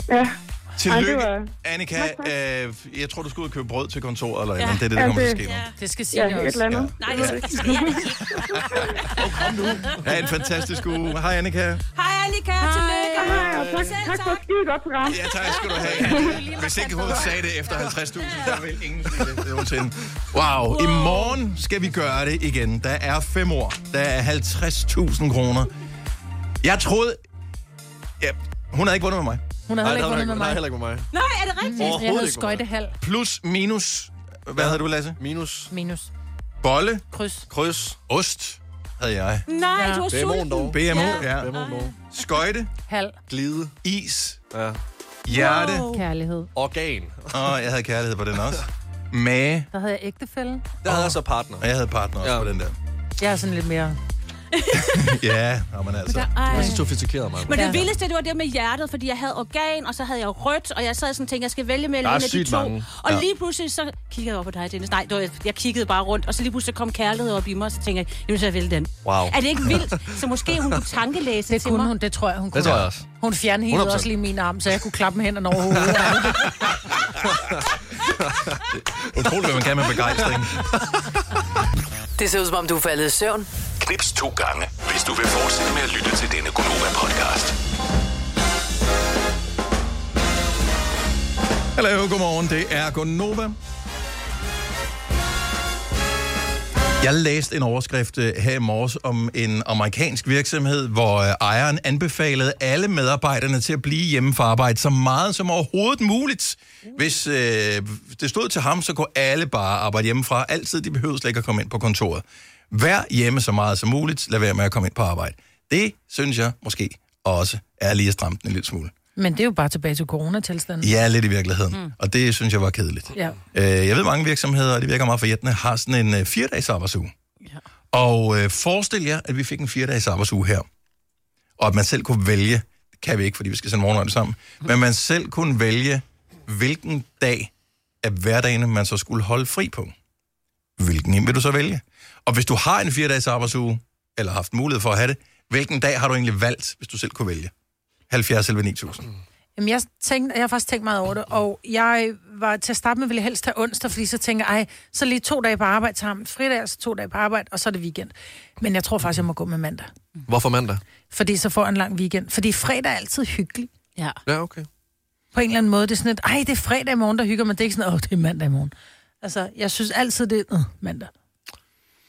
L: Ja. Ej,
A: Tillykke,
L: det var-
A: Annika. Øh, jeg tror, du skal ud og købe brød til kontoret, eller ja.
E: Ja.
A: andet. Det er det, der
L: Ja,
A: kommer til at
L: det-
A: ske nu.
B: Det skal sige
L: Ja,
B: ja,
L: et
B: også.
L: eller andet.
E: Nej, det skal jeg ikke.
A: Ha' en fantastisk uge. Hej, Annika.
E: Hej, Annika. Tillykke.
L: Hej, og tak,
E: Selv
L: tak for et skide godt program.
A: Ja, tak skal du have. Hvis ikke hun sagde det efter 50.000, så vil ingen sige det nogensinde. Wow. I morgen skal vi gøre det igen. Der er fem år. Der er 50.000 kroner. Jeg troede... Ja, hun havde ikke vundet med mig.
B: Hun har
C: Nej,
B: heller
C: der
B: ikke
C: var
B: vundet med mig.
C: ikke- nej, heller ikke med mig.
E: Nej, er det rigtigt?
B: Jeg
C: Overhovedet
B: havde
C: ikke med mig.
B: skøjtehal
A: Plus, minus... Hvad havde du, Lasse?
C: Minus,
B: minus
A: Bolle,
B: kryds.
C: kryds,
A: ost havde jeg.
E: Nej,
B: Ja.
E: du har
C: BMO'en
E: sulten.
C: dog.
A: BMO, ja.
C: BMO'en dog.
A: Skøjte,
B: Halv
C: Glide.
A: is,
C: Ja.
A: hjerte.
B: kærlighed.
C: Organ.
A: Og jeg havde kærlighed på den også. Mage,
B: Der havde jeg ægtefælde.
C: Der havde jeg så partner.
A: og jeg havde partner også
C: Ja.
A: på den der.
B: Jeg er sådan lidt mere...
A: Ja, nå, men altså.
C: Det
E: Ej.
C: var så sofistikeret, mig.
E: Men det
B: Ja.
E: vildeste, det var det med hjertet, fordi jeg havde organ, og så havde jeg rødt, og jeg sad sådan og tænkte, jeg skal vælge mellem
C: Der er
E: en af de
C: sygt
E: to.
C: mange.
E: Og
C: Ja.
E: lige pludselig så kiggede jeg over på dig, Dennis. Nej, det var, jeg kiggede bare rundt, og så lige pludselig kom kærlighed op i mig, og så tænkte jeg, jamen så jeg vælge den.
C: Wow.
E: Er det ikke vildt? Så måske hun kunne tankelæse
B: Det
E: til
B: kunne
E: mig.
B: hun, det tror jeg, hun kunne.
C: Det tror jeg også.
B: Hun fjernede helt
C: 100%.
B: også lige min arm, så jeg kunne klappe med hænderne over hovedet.
A: Utroligt, hvad man kan med begejstring.
M: Det ser ud som om, du er faldet i søvn.
F: Knips to gange, hvis du vil fortsætte med at lytte til denne Gonova-podcast.
A: Hallo, godmorgen. Det er Gunnova. Jeg læste en overskrift øh, her i morges om en amerikansk virksomhed, hvor øh, ejeren anbefalede alle medarbejderne til at blive hjemme fra arbejde så meget som overhovedet muligt. Hvis øh, det stod til ham, så kunne alle bare arbejde hjemmefra. Altid, de behøvede slet ikke at komme ind på kontoret. Vær hjemme så meget som muligt. Lad være med at komme ind på arbejde. Det synes jeg måske også er lige at stramme den en lille smule.
B: Men det er jo bare tilbage til coronatilstanden.
A: Ja, lidt i virkeligheden.
B: Mm.
A: Mm. Og det synes jeg var kedeligt.
B: Ja.
A: Øh, jeg ved, mange virksomheder, og det virker meget forjættende, har sådan en øh, fire-dages arbejdsuge. Ja. Og øh, forestil jer, at vi fik en fire-dages arbejdsuge her. Og at man selv kunne vælge, kan vi ikke, fordi vi skal sende morgenøjde sammen, men man selv kunne vælge, hvilken dag af hverdagen, man så skulle holde fri på. Hvilken en vil du så vælge? Og hvis du har en fire-dages arbejdsuge, eller har haft mulighed for at have det, hvilken dag har du egentlig valgt, hvis du selv kunne vælge? 70 eller 9000.
B: Jamen, jeg, tænkte, jeg har faktisk tænkt meget over det, og jeg var til at starte med, ville jeg helst tage onsdag, fordi så tænker jeg, ej, så lige to dage på arbejde sammen, fredag, og så to dage på arbejde, og så er det weekend. Men jeg tror faktisk, jeg må gå med mandag,
C: Hvorfor mandag?
B: fordi så får jeg en lang weekend. Fordi fredag er altid hyggelig. Ja.
C: Ja, okay.
B: På en eller anden måde, det er sådan et, ej, det er fredag i morgen, der hygger mig. Det er ikke sådan, åh, det er mandag i morgen. Altså, jeg synes altid, det er øh, mandag.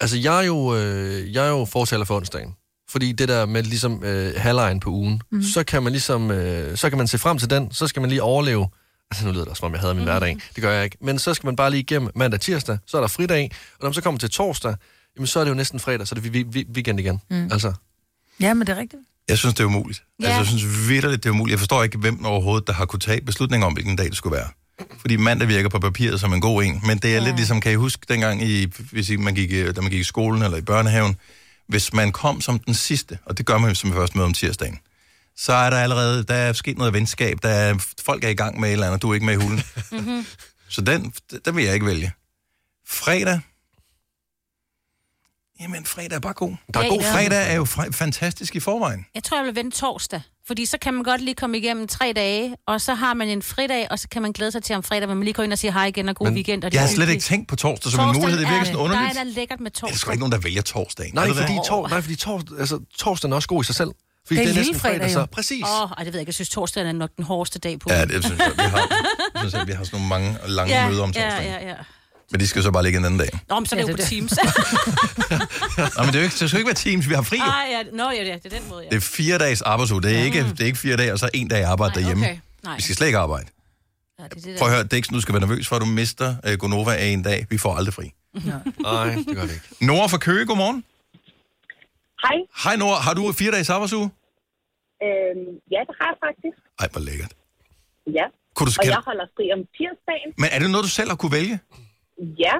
C: Altså, jeg er jo, øh, jeg er jo fortaler for onsdagen. Fordi det der med ligesom øh, halvlejen på ugen,
B: Mhm.
C: mm. så kan man ligesom, øh, så kan man se frem til den, så skal man lige overleve. Altså, nu lyder det også, som om jeg havde min mm. hverdag. Det gør jeg ikke. Men så skal man bare lige igennem mandag tirsdag, så er der fridag, og når man så kommer til torsdag, jamen, så er det jo næsten fredag, så er det vi, vi, weekend igen.
B: Mm.
C: Mm. Altså,
B: Ja, men det er rigtigt.
A: Jeg synes, det er umuligt.
B: Ja.
A: Ja. Altså, jeg synes virkelig, det er umuligt. Jeg forstår ikke, hvem overhovedet, der har kunne tage beslutning om, hvilken dag det skulle være. Fordi mandag virker på papiret som en god en, men det er ja. lidt ligesom, kan I huske dengang, i, hvis I, man gik, øh, da man gik i skolen eller i børnehaven, hvis man kom som den sidste, og det gør man som først møde om tirsdagen, så er der allerede, der er sket noget venskab, der er, folk er i gang med et eller andet, du er ikke med i hulen.
G: Mm-hmm.
A: Så den, den vil jeg ikke vælge. Fredag. Jamen, fredag er bare god. Der er
D: Ja,
A: god
D: ja.
A: fredag er jo fre- fantastisk i forvejen.
D: Jeg tror, jeg vil vente torsdag. Fordi så kan man godt lige komme igennem tre dage, og så har man en fridag, og så kan man glæde sig til om fredag, hvor man lige går ind og siger hej igen og god weekend. Og det
A: jeg
D: er
A: har slet
D: hyggeligt.
A: ikke tænkt på torsdag som en mulighed. Det virker sådan underligt.
D: Der er da lækkert med
A: Der er sgu
D: torsdag.
A: ikke nogen, der vælger torsdagen.
C: nej,
A: Er der
C: fordi
A: det?
C: tor, nej, fordi torsdag, altså, torsdagen er også god i sig selv. Fordi
D: Det er
C: det er, næsten
D: lillefredag,
C: fredag,
D: jo.
C: så. Præcis.
D: Åh, oh, det ved jeg ikke. Jeg synes, torsdagen er nok den hårdeste dag på
A: Ja,
D: ugen.
A: det synes jeg, vi har, jeg synes, at vi har sådan nogle mange og lange møder om torsdagen.
D: Ja, ja, ja.
A: Men de skal jo så bare ligge en anden dag.
D: Nå, men så er
B: Ja,
D: det jo
B: det
D: på
B: er det.
D: Teams.
A: Nå, men det, er jo ikke, det skal jo ikke være teams, vi har fri.
D: Ej, ja. Nå, ja, det er den måde, ja.
A: Det er fire dages arbejdsuge. Det er, ikke, det er ikke fire dage, og så en dag arbejde derhjemme.
D: Okay. Nej.
A: Vi skal slet ikke arbejde.
D: Ja, det er det der.
A: Prøv at høre, det er ikke sådan, du skal være nervøs for, at du mister uh, Gonova af en dag. Vi får aldrig fri.
C: Nej, det gør det ikke.
A: Nora fra Køge, godmorgen.
J: Hej.
A: Hej Nora, har du fire dages arbejdsuge?
J: Øhm, ja, det har jeg faktisk.
A: Ej, hvor lækkert.
J: Ja.
A: Kunne du
J: og
A: kan-
J: jeg holder fri om tirsdagen.
A: Men er det noget, du selv har kunne vælge?
J: Ja,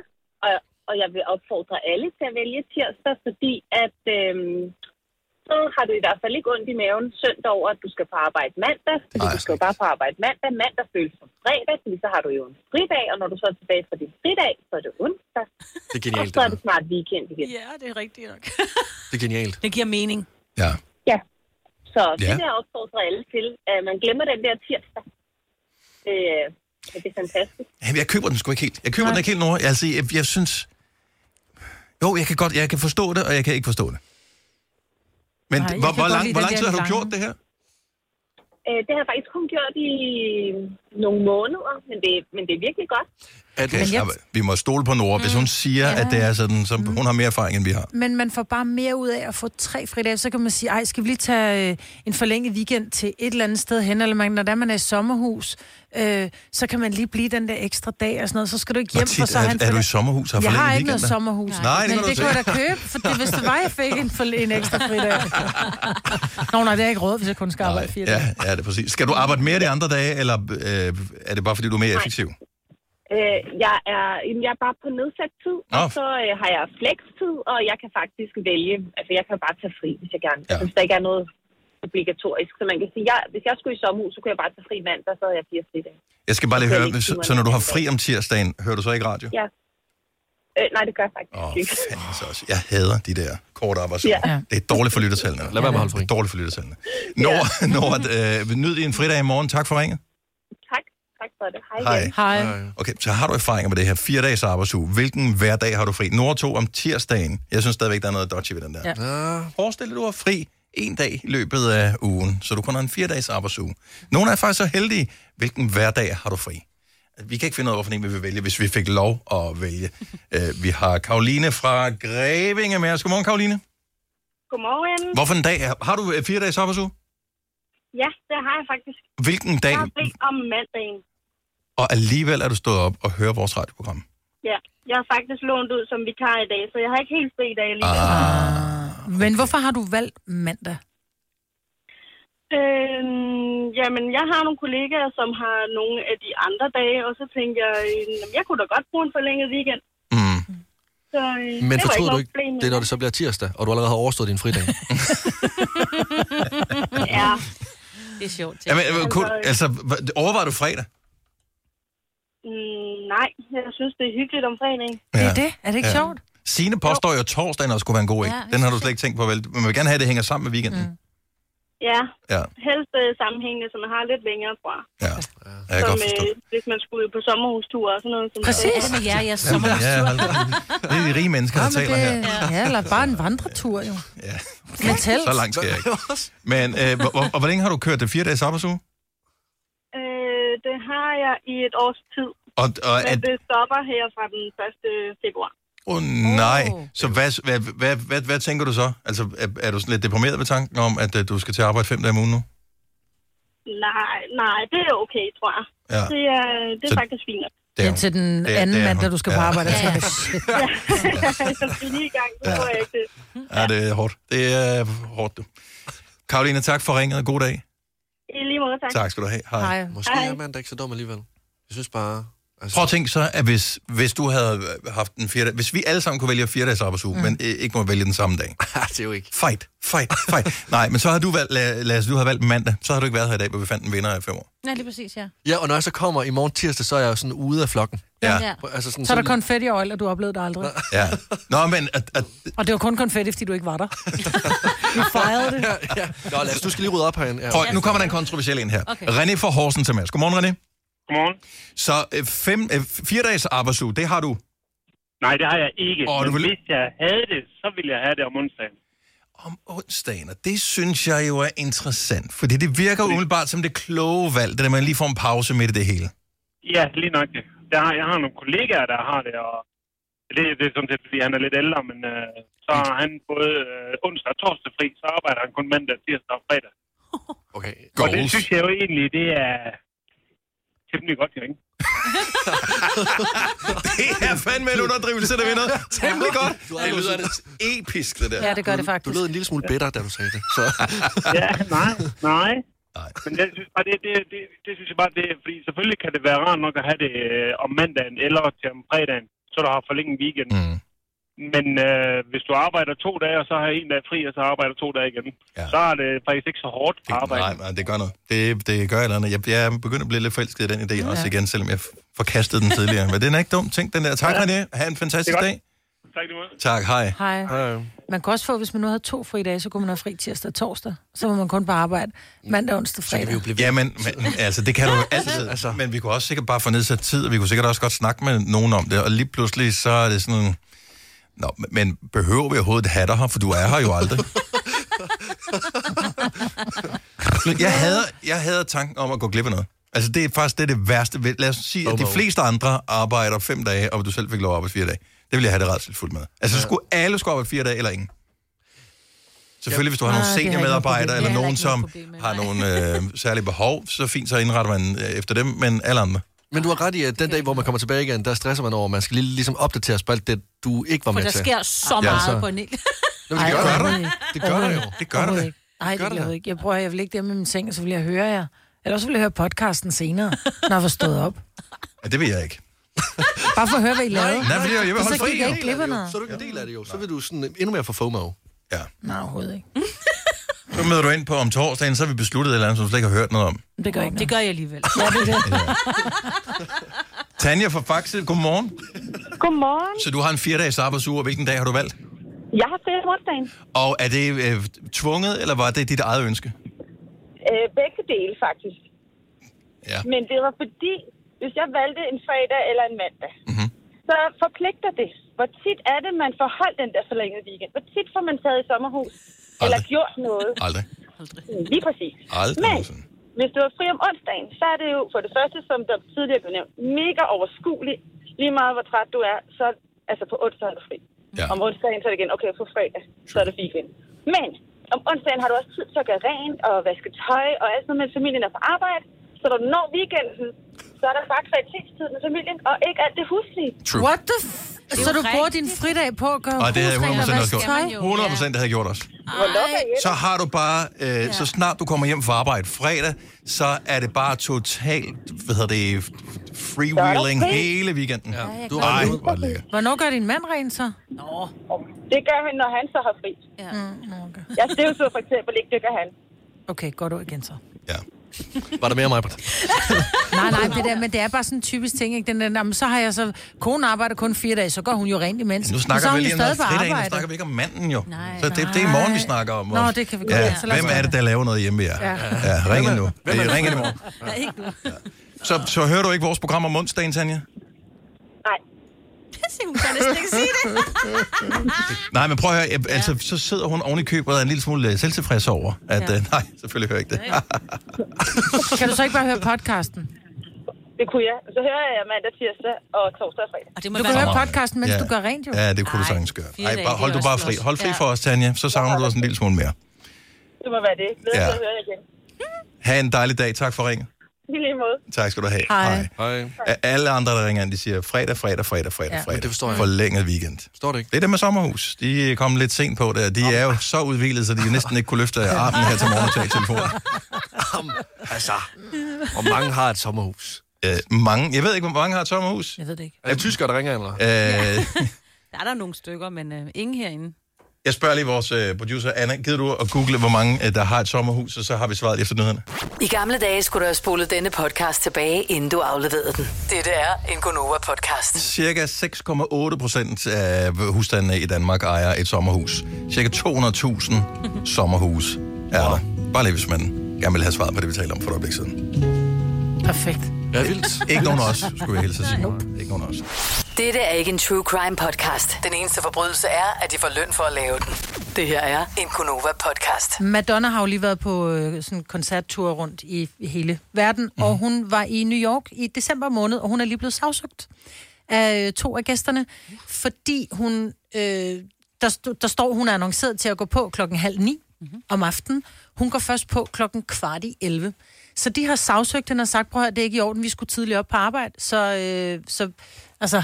J: og, og jeg vil opfordre alle til at vælge tirsdag, fordi at øhm, så har du i hvert fald ikke ondt i maven søndag over, at du skal på arbejde mandag, fordi Ej, du skal jo bare på arbejde mandag. Mandag føles som fredag, fordi så har du jo en fridag, og når du så er tilbage fra din fridag, så er det onsdag.
C: Det er
J: og
C: genialt,
J: så
C: det,
J: er det snart weekend igen.
D: Ja, det er rigtigt nok.
C: det er genialt.
D: Det giver mening.
A: Ja.
J: Ja. Så det
A: Ja.
J: vil jeg opfordre alle til. at man glemmer den der tirsdag. Det, øh, det er fantastisk.
A: Jamen, jeg køber den sgu ikke helt. Jeg køber Nej. den ikke helt, Nora. Altså, jeg, jeg synes... Jo, jeg kan godt, jeg kan forstå det, og jeg kan ikke forstå det. Men
J: Nej,
A: Nej,
J: jeg kan
A: hvor, hvor,
J: godt
A: lang,
J: lide
A: hvor
J: den
A: lang
J: der
A: tid har du
J: lange.
A: gjort det her?
J: Øh, det har jeg faktisk kun gjort i nogle måneder, men det, men det er virkelig godt.
C: At,
A: okay,
B: Men jeg-
A: jeg... Vi må stole på Nora,
J: Mm.
A: hvis hun siger, ja. at det er sådan, så hun har mere erfaring, end vi har.
B: Men man får bare mere ud af at få tre fridage. Så kan man sige, ej, skal vi lige tage øh, en forlænget weekend til et eller andet sted hen? Eller man, når der man er i sommerhus, øh, så kan man lige blive den der ekstra dag og sådan noget. Så skal du ikke
A: Hvor
B: hjem, for
A: tit
B: så har
A: er,
B: han...
A: er du i
B: forlæ-
A: sommerhus?
B: jeg har
A: forlænget
B: ikke noget
A: weekender?
B: sommerhus.
A: Nej, det,
B: men
A: kan du
B: det
A: se.
B: kunne jeg da købe, for det, hvis det var, jeg fik en, forlæ- en ekstra fridag. Nå, nej, det er ikke råd, hvis jeg kun skal arbejde fire dage.
A: Ja, ja, det er præcis. Skal du arbejde mere de andre dage, eller øh, er det bare, fordi du er mere effektiv?
J: Øh, jeg, er, jamen, jeg er bare på nedsat tid,
A: Nå.
J: og så øh, har jeg flekstid, og jeg kan faktisk vælge. Altså, jeg kan bare tage fri, hvis jeg gerne. Ja. Altså, hvis der ikke er noget obligatorisk. Så man kan sige, jeg, hvis jeg skulle i sommerhus, så kunne jeg bare tage fri mandag, så havde jeg fire fri dage.
A: Jeg skal bare lige
J: Jeg kan
A: høre,
J: ikke
A: så,
J: finde
A: så når du har
J: noget
A: fri om tirsdagen, hører du så ikke radio?
J: Ja. Øh, nej, det gør jeg faktisk
A: Åh,
J: ikke.
A: fanden så også. Jeg hader de der korte arbejdsuger.
J: Ja.
A: Ja. Det er dårligt for lyttertallene. Lad være med at holde fri. Dårligt for lyttertallene. Nora, ja. Nora øh, nyd din fredag i morgen. Tak for ringet.
J: Tak. Tak for det. Hej. igen.
A: Okay, så har du erfaringer med det her. Fire dages arbejdsuge. Hvilken hverdag har du fri? Nora tog om tirsdagen. Jeg synes stadigvæk, der er noget dodgy ved den der. Ja. Forestil dig, du har fri en dag i løbet af ugen, så du kun har en fire dages arbejdsuge. Nogle er faktisk så heldige. Hvilken hverdag har du fri? Vi kan ikke finde ud af, hvorfor en vi vil vælge, hvis vi fik lov at vælge. Øh, vi har Karoline fra Grevinge med os. Godmorgen, Karoline.
N: Godmorgen.
A: Hvorfor en dag? er- Har du øh, fire dages arbejdsuge?
N: Ja, det har jeg faktisk.
A: Hvilken dag?
N: Jeg har fri om mandagen.
A: Og alligevel er du stået op og hører vores radioprogram.
N: Ja, jeg har faktisk lånt ud som vikar i dag, så jeg har ikke helt fri i dag lige.
A: Ah.
B: Men hvorfor har du valgt mandag?
N: Øhm, jamen, jeg har nogle kollegaer, som har nogle af de andre dage, og så tænkte jeg, øh, jamen, jeg kunne da godt bruge en forlænget weekend. Mm. Så, øh, det var
C: Men fortryder du
N: noget
C: ikke
N: problem.
C: det, når det så bliver tirsdag, og du allerede har overstået din fridag?
N: Ja.
E: Det er sjovt.
A: Jamen, øh, kun, altså, hva- overvejer du fredag?
N: Mm, nej, jeg synes, det er hyggeligt om fredagen.
A: Ja.
B: Det er det. Er det ikke
A: Ja.
B: ja. sjovt?
A: Signe påstår jo, at torsdagen også skulle være en god, ikke?
N: Ja, det
A: Den har du slet ikke tænkt på, vel? Men man vil gerne have, at det hænger sammen med weekenden. Mm.
N: Ja,
A: Ja,
N: helst øh, sammenhængende, som man har lidt længere fra.
A: ja. ja
N: som,
A: jeg kan
N: øh,
A: godt forstå.
N: hvis man skulle ud på sommerhustur og sådan noget. Som
B: Præcis.
N: Det.
B: Hvad med jer, jeres
A: Ja, hold da. det er de rige mennesker, der
B: men
A: taler her.
B: det, ja, eller bare en vandretur, jo. Ja. Med telt.
A: Så langt skal jeg ikke. Men, øh, hvor, hvor, og hvor længe har du kørt det? Fire dages arbejdsuge?
N: Øh, det har jeg i et års tid,
A: Og, og
N: men
A: at,
N: det stopper her fra den 1. februar.
A: oh, nej. Så hvad, hvad, hvad, hvad, hvad tænker du så? Altså, er, er du sådan lidt deprimeret ved tanken om, at øh, du skal til arbejde fem dage om ugen nu?
N: Nej, nej, det er okay, tror jeg.
A: Ja.
N: Det er, det er
A: Så-
N: faktisk fint nok.
A: Det er,
B: til den
A: det er-
B: anden
A: det er
B: mand, da
A: hun.
B: du skal
A: Ja.
B: på arbejde. Altså,
A: Ja.
B: Ja.
N: jeg skal lige i gang, så tror jeg ikke det.
A: Ja, det er hårdt. Det er hårdt, du. Karoline, tak for ringet. God dag.
N: I lige måde, tak.
A: Tak skal du have. Hej. Hej.
C: Måske
N: Hej.
C: er mandag ikke så dum alligevel. Jeg synes bare... Altså,
A: Prøv at tænke så, at hvis, hvis du havde haft en fire hvis vi alle sammen kunne vælge fire dages arbejdsuge, mm. men øh, ikke må vælge den samme dag.
C: Ah, det er jo ikke.
A: Fight, fight, fight. Nej, men så har du valgt, lad, lad os, du havde valgt mandag, så har du ikke været her i dag, hvor vi fandt en vinder af fem år.
E: Nej, lige præcis, ja.
C: Ja, og når jeg så kommer i morgen tirsdag, så er jeg jo sådan ude af flokken.
A: Ja.
C: Altså sådan,
B: Så er der
C: sådan-
B: konfetti og øl, og du oplevede det aldrig.
A: Ja. Nå, men at, at,
B: Og det var kun konfetti, fordi du ikke var der. Vi fejrede det.
C: ja. Nå, lad os, du skal lige rydde op herinde. Ja.
A: prøv, nu kommer der en kontroversiel ind her. Okay.
B: Okay.
A: René fra Horsens til Mads. Godmorgen, René.
O: Godmorgen.
A: Så øh, fem, øh, fire dages arbejdsuge, det har du.
O: Nej, det har jeg ikke.
A: Åh,
O: Oh,
A: du
O: du vil...
A: vil-
O: Hvis jeg havde det, så ville jeg have det om onsdagen.
A: om onsdagen, og det synes jeg jo er interessant, fordi det virker umiddelbart som det kloge valg, det der man lige får en pause midt i det hele.
O: Ja, lige nok det. Der har, jeg har nogle kollegaer, der har det, og det, det er sådan set, fordi han er lidt ældre, men øh, så har han både øh, onsdag og torsdag fri, så arbejder han kun mandag, tirsdag og fredag.
C: Okay.
O: Og det synes jeg jo egentlig, det er temmelig godt, jeg ikke?
A: det er fandme en underdrivelse, der vinder. Temmelig godt. Det lyder det episk, det der.
B: Ja, det gør det
C: Du-
B: faktisk.
C: Du lød en lille smule bitter, da du sagde det. Så.
O: ja, nej, nej. Men jeg synes bare, det, det, det, det synes jeg bare, det er, fordi selvfølgelig kan det være rart nok at have det øh, om mandagen eller til om fredagen, så du har forlænget weekend. Mm. Men øh, hvis du arbejder to dage, og så har en dag fri, og så arbejder to dage igen, ja. så er det faktisk ikke så hårdt at arbejde.
A: Nej, nej, det gør noget. Det, det gør et eller andet. Jeg, jeg er begyndt at blive lidt forelsket i den idé ja. også igen, selvom jeg f- forkastede den tidligere. Men den er ikke dum. Tænk den der. Tak, ja. René. Ha' en fantastisk
O: Det er
A: dag. Tak, hej.
B: Hej. Man kan også få, hvis man nu havde to fridage, så kunne man have fri tirsdag og torsdag. Så må man kun på arbejde mandag, onsdag, fredag.
A: Ja, men, men altså, det kan du jo altid. altså. Men vi kunne også sikkert bare få nedsat tid, og vi kunne sikkert også godt snakke med nogen om det. Og lige pludselig, så er det sådan... Nå, men behøver vi overhovedet have dig her, for du er her jo aldrig. jeg, hader, jeg hader tanken om at gå glip af noget. Altså, det er faktisk det, er det værste. ved- Lad os sige, at de fleste andre arbejder fem dage, og du selv fik lov at arbejde fire dage. Det ville jeg have det rædselfuldt med. Altså, skulle alle skulle arbejde fire dage eller ingen? Selvfølgelig, hvis du har
C: Ah,
A: nogle
C: det har jeg ikke noget problem
A: seniormedarbejdere,
C: med.
A: eller
C: Det har
A: nogen, som har nogle øh, særlige behov, så fint, så indretter man øh, efter dem, men alle andre.
C: Men du har ret i, at den dag, hvor man kommer tilbage igen, der stresser man over, at man skal lige ligesom opdateres på alt det, du ikke var
E: For
C: med
E: der
C: til.
E: sker så
C: Ja,
E: meget
C: altså.
E: på en hel.
C: Jamen, det
B: Ej,
C: gør
B: overhovedet
C: det.
B: ikke.
C: Det gør det jo.
B: Overhovedet
C: Det gør det.
B: ikke. Nej, det gør jeg ikke. Jeg prøver, jeg vil ikke det med min seng, så vil jeg høre jer. Eller også vil jeg høre podcasten senere, når jeg var stået op.
A: Ja, det vil jeg ikke.
B: Bare for at høre, hvad I
C: Nej,
B: lavede.
C: nej, fordi jeg vil
B: Og
C: holde
B: så
C: fri,
B: gik jeg
C: jo.
B: ikke glip af noget.
C: Så er du ikke en del af det jo. Så vil du sådan endnu mere få FOMO.
A: Ja.
B: Nej, overhovedet ikke.
A: Så møder du ind på om torsdagen, så har vi besluttet et eller andet, som du slet ikke har hørt noget om.
B: Det gør jeg ikke
E: Det gør jeg alligevel.
B: Ja, det er det.
A: Tanja fra Faxe, godmorgen.
P: Godmorgen.
A: Så du har en fire dages arbejdsuge, og hvilken dag har du valgt?
P: Jeg har fri om onsdagen.
A: Og er det øh, tvunget, eller var det dit eget ønske?
P: Øh, begge dele, faktisk.
A: Ja.
P: Men det var fordi, hvis jeg valgte en fredag eller en mandag,
A: Mhm.
P: mm-hmm. så forpligter det. Hvor tit er det, man får holdt den der forlængede weekend? Hvor tit får man taget i sommerhus? Aldrig. Eller gjort noget?
A: Aldrig.
P: Mm, Lige præcis.
A: Aldrig
P: Men hvis du er fri om onsdagen, så er det jo for det første, som der tidligere blev nævnt, mega overskueligt. Lige meget hvor træt du er, så altså på onsdag er du fri.
A: Ja.
P: Om onsdagen så er det igen, okay, på fredag, så er det weekend. Men om onsdagen har du også tid til at gøre rent og vaske tøj og alt sådan noget, mens familien er på arbejde. Så når du når weekenden, så er der bare kvalitetstid med familien, og ikke alt det huslige.
A: True.
B: What the f- Så du bruger din fridag på at gøre
A: Og det havde jeg
B: husregler
A: 100% også
B: vaske
A: gjort.
B: tøj?
A: 100% det havde jeg gjort også.
P: Hvornår kan jeg
A: Så har du bare, øh, ja. så snart du kommer hjem fra arbejde fredag, så er det bare totalt, hvad hedder det, freewheeling
B: Så er der fri.
A: hele weekenden. Ja,
B: jeg
A: du
B: kan
A: Ej,
B: godt
A: hvor lækkert.
B: Hvornår gør din mand rent så?
P: Nå. Det gør han, når han så har fri. Ja. Mm, okay. Jeg støvsuger for eksempel ikke, det gør han.
B: Okay, går du igen så?
C: Var der mere, mig?
B: Nej, nej, det der, men det er bare sådan en typisk ting, ikke? Den der, "Nå, men så har jeg så... Konen arbejder kun fire dage, så går hun jo rent imens.
A: Nu
B: Men så
A: snakker
B: er
A: vi
B: hun
A: lige
B: jo
A: om noget
B: stadig på
A: fredag, nu
B: arbejde.
A: snakker vi ikke om manden jo. Nej, så det, det er i morgen, vi snakker om.
B: Nå, det kan vi godt.
A: ja.
B: Ja, så lad os
A: Hvem er
B: gøre
A: det, der laver noget hjemme, ja?
B: Ja.
A: Ja, ja ring ind nu.
C: Hvem er
A: Øh,
C: det?
A: ring ind i morgen.
B: Ja, ikke nu.
A: Så, så hører du ikke vores program om onsdagen, Tanja?
E: Se, hun kan næsten ikke sige det.
A: Nej, men prøv at høre, øh, altså, så sidder hun oven i købet og er en lille smule øh, selvtilfreds over, at
B: Ja.
A: øh, nej, selvfølgelig hører jeg ikke det.
B: Kan du så ikke bare høre podcasten?
P: Det kunne jeg. Så hører jeg mandag, tirsdag og torsdag og fredag.
E: Og det
B: Du kan høre podcasten, mens
A: Ja.
B: du gør rent, jo.
A: Ja, det kunne du sagtens gøre.
B: fire
A: Ej,
B: dage,
A: bare,
B: det
A: hold
B: er
A: du
B: også
A: bare fri.
B: flot.
A: Hold fri
B: Ja.
A: for os, Tanja. Så savner du os en lille smule mere.
P: Det må være det. Glæder
A: Ja.
P: ja. at høre jer igen.
A: Ha' en dejlig dag. Tak for ringen.
P: I lige måde.
A: Tak skal du have.
P: Hej.
C: Hej.
A: A- Alle andre, der ringer ind, de siger fredag, fredag, fredag, fredag,
C: Ja.
A: ja. fredag.
C: Men det forstår jeg ikke.
A: Forlænget weekend.
C: Står det ikke?
A: Det er det med sommerhus. De er kommet lidt sent på det. De er jo så udvildet, så de næsten ikke kunne løfte armen her til morgen og tage telefonen.
C: Altså, og mange har et sommerhus.
A: Øh, mange. Jeg ved ikke, hvor mange har et sommerhus.
B: Jeg ved det ikke.
C: Er det tyskere, der ringer, eller?
A: Øh,
E: Der er der nogle stykker, men øh, ingen herinde.
A: jeg spørger lige vores øh, producer, Anna. Gider du at google, hvor mange, øh, der har et sommerhus, og så har vi svaret efter nyhederne?
Q: I gamle dage skulle du have spolet denne podcast tilbage, inden du afleverede den. Dette er en Gonova-podcast.
A: Cirka 6,8 procent af husstandene i Danmark ejer et sommerhus. Cirka 200.000 sommerhus er der. Bare lige, hvis man gerne vil have svaret på det, vi talte om for et øjeblik siden.
B: Perfekt.
A: Ja, vildt. Ikke nogen af os, skulle jeg hilse at sige. Ikke nogen af os.
Q: Dette er ikke en true crime podcast. Den eneste forbrydelse er, at de får løn for at lave den. Det her er en Gonova-podcast.
B: Madonna har jo lige været på øh, sådan en koncerttur rundt i hele verden, mm. og hun var i New York i december måned, og hun er lige blevet sagsøgt af øh, to af gæsterne, fordi hun, øh, der, stod- der står, hun er annonceret til at gå på klokken halv ni mm-hmm. om aftenen. Hun går først på klokken kvart i 11. Så de har sagsøgt hende og sagt, prøv at høre, det er ikke i orden, vi skulle tidligere op på arbejde, så, øh, så altså,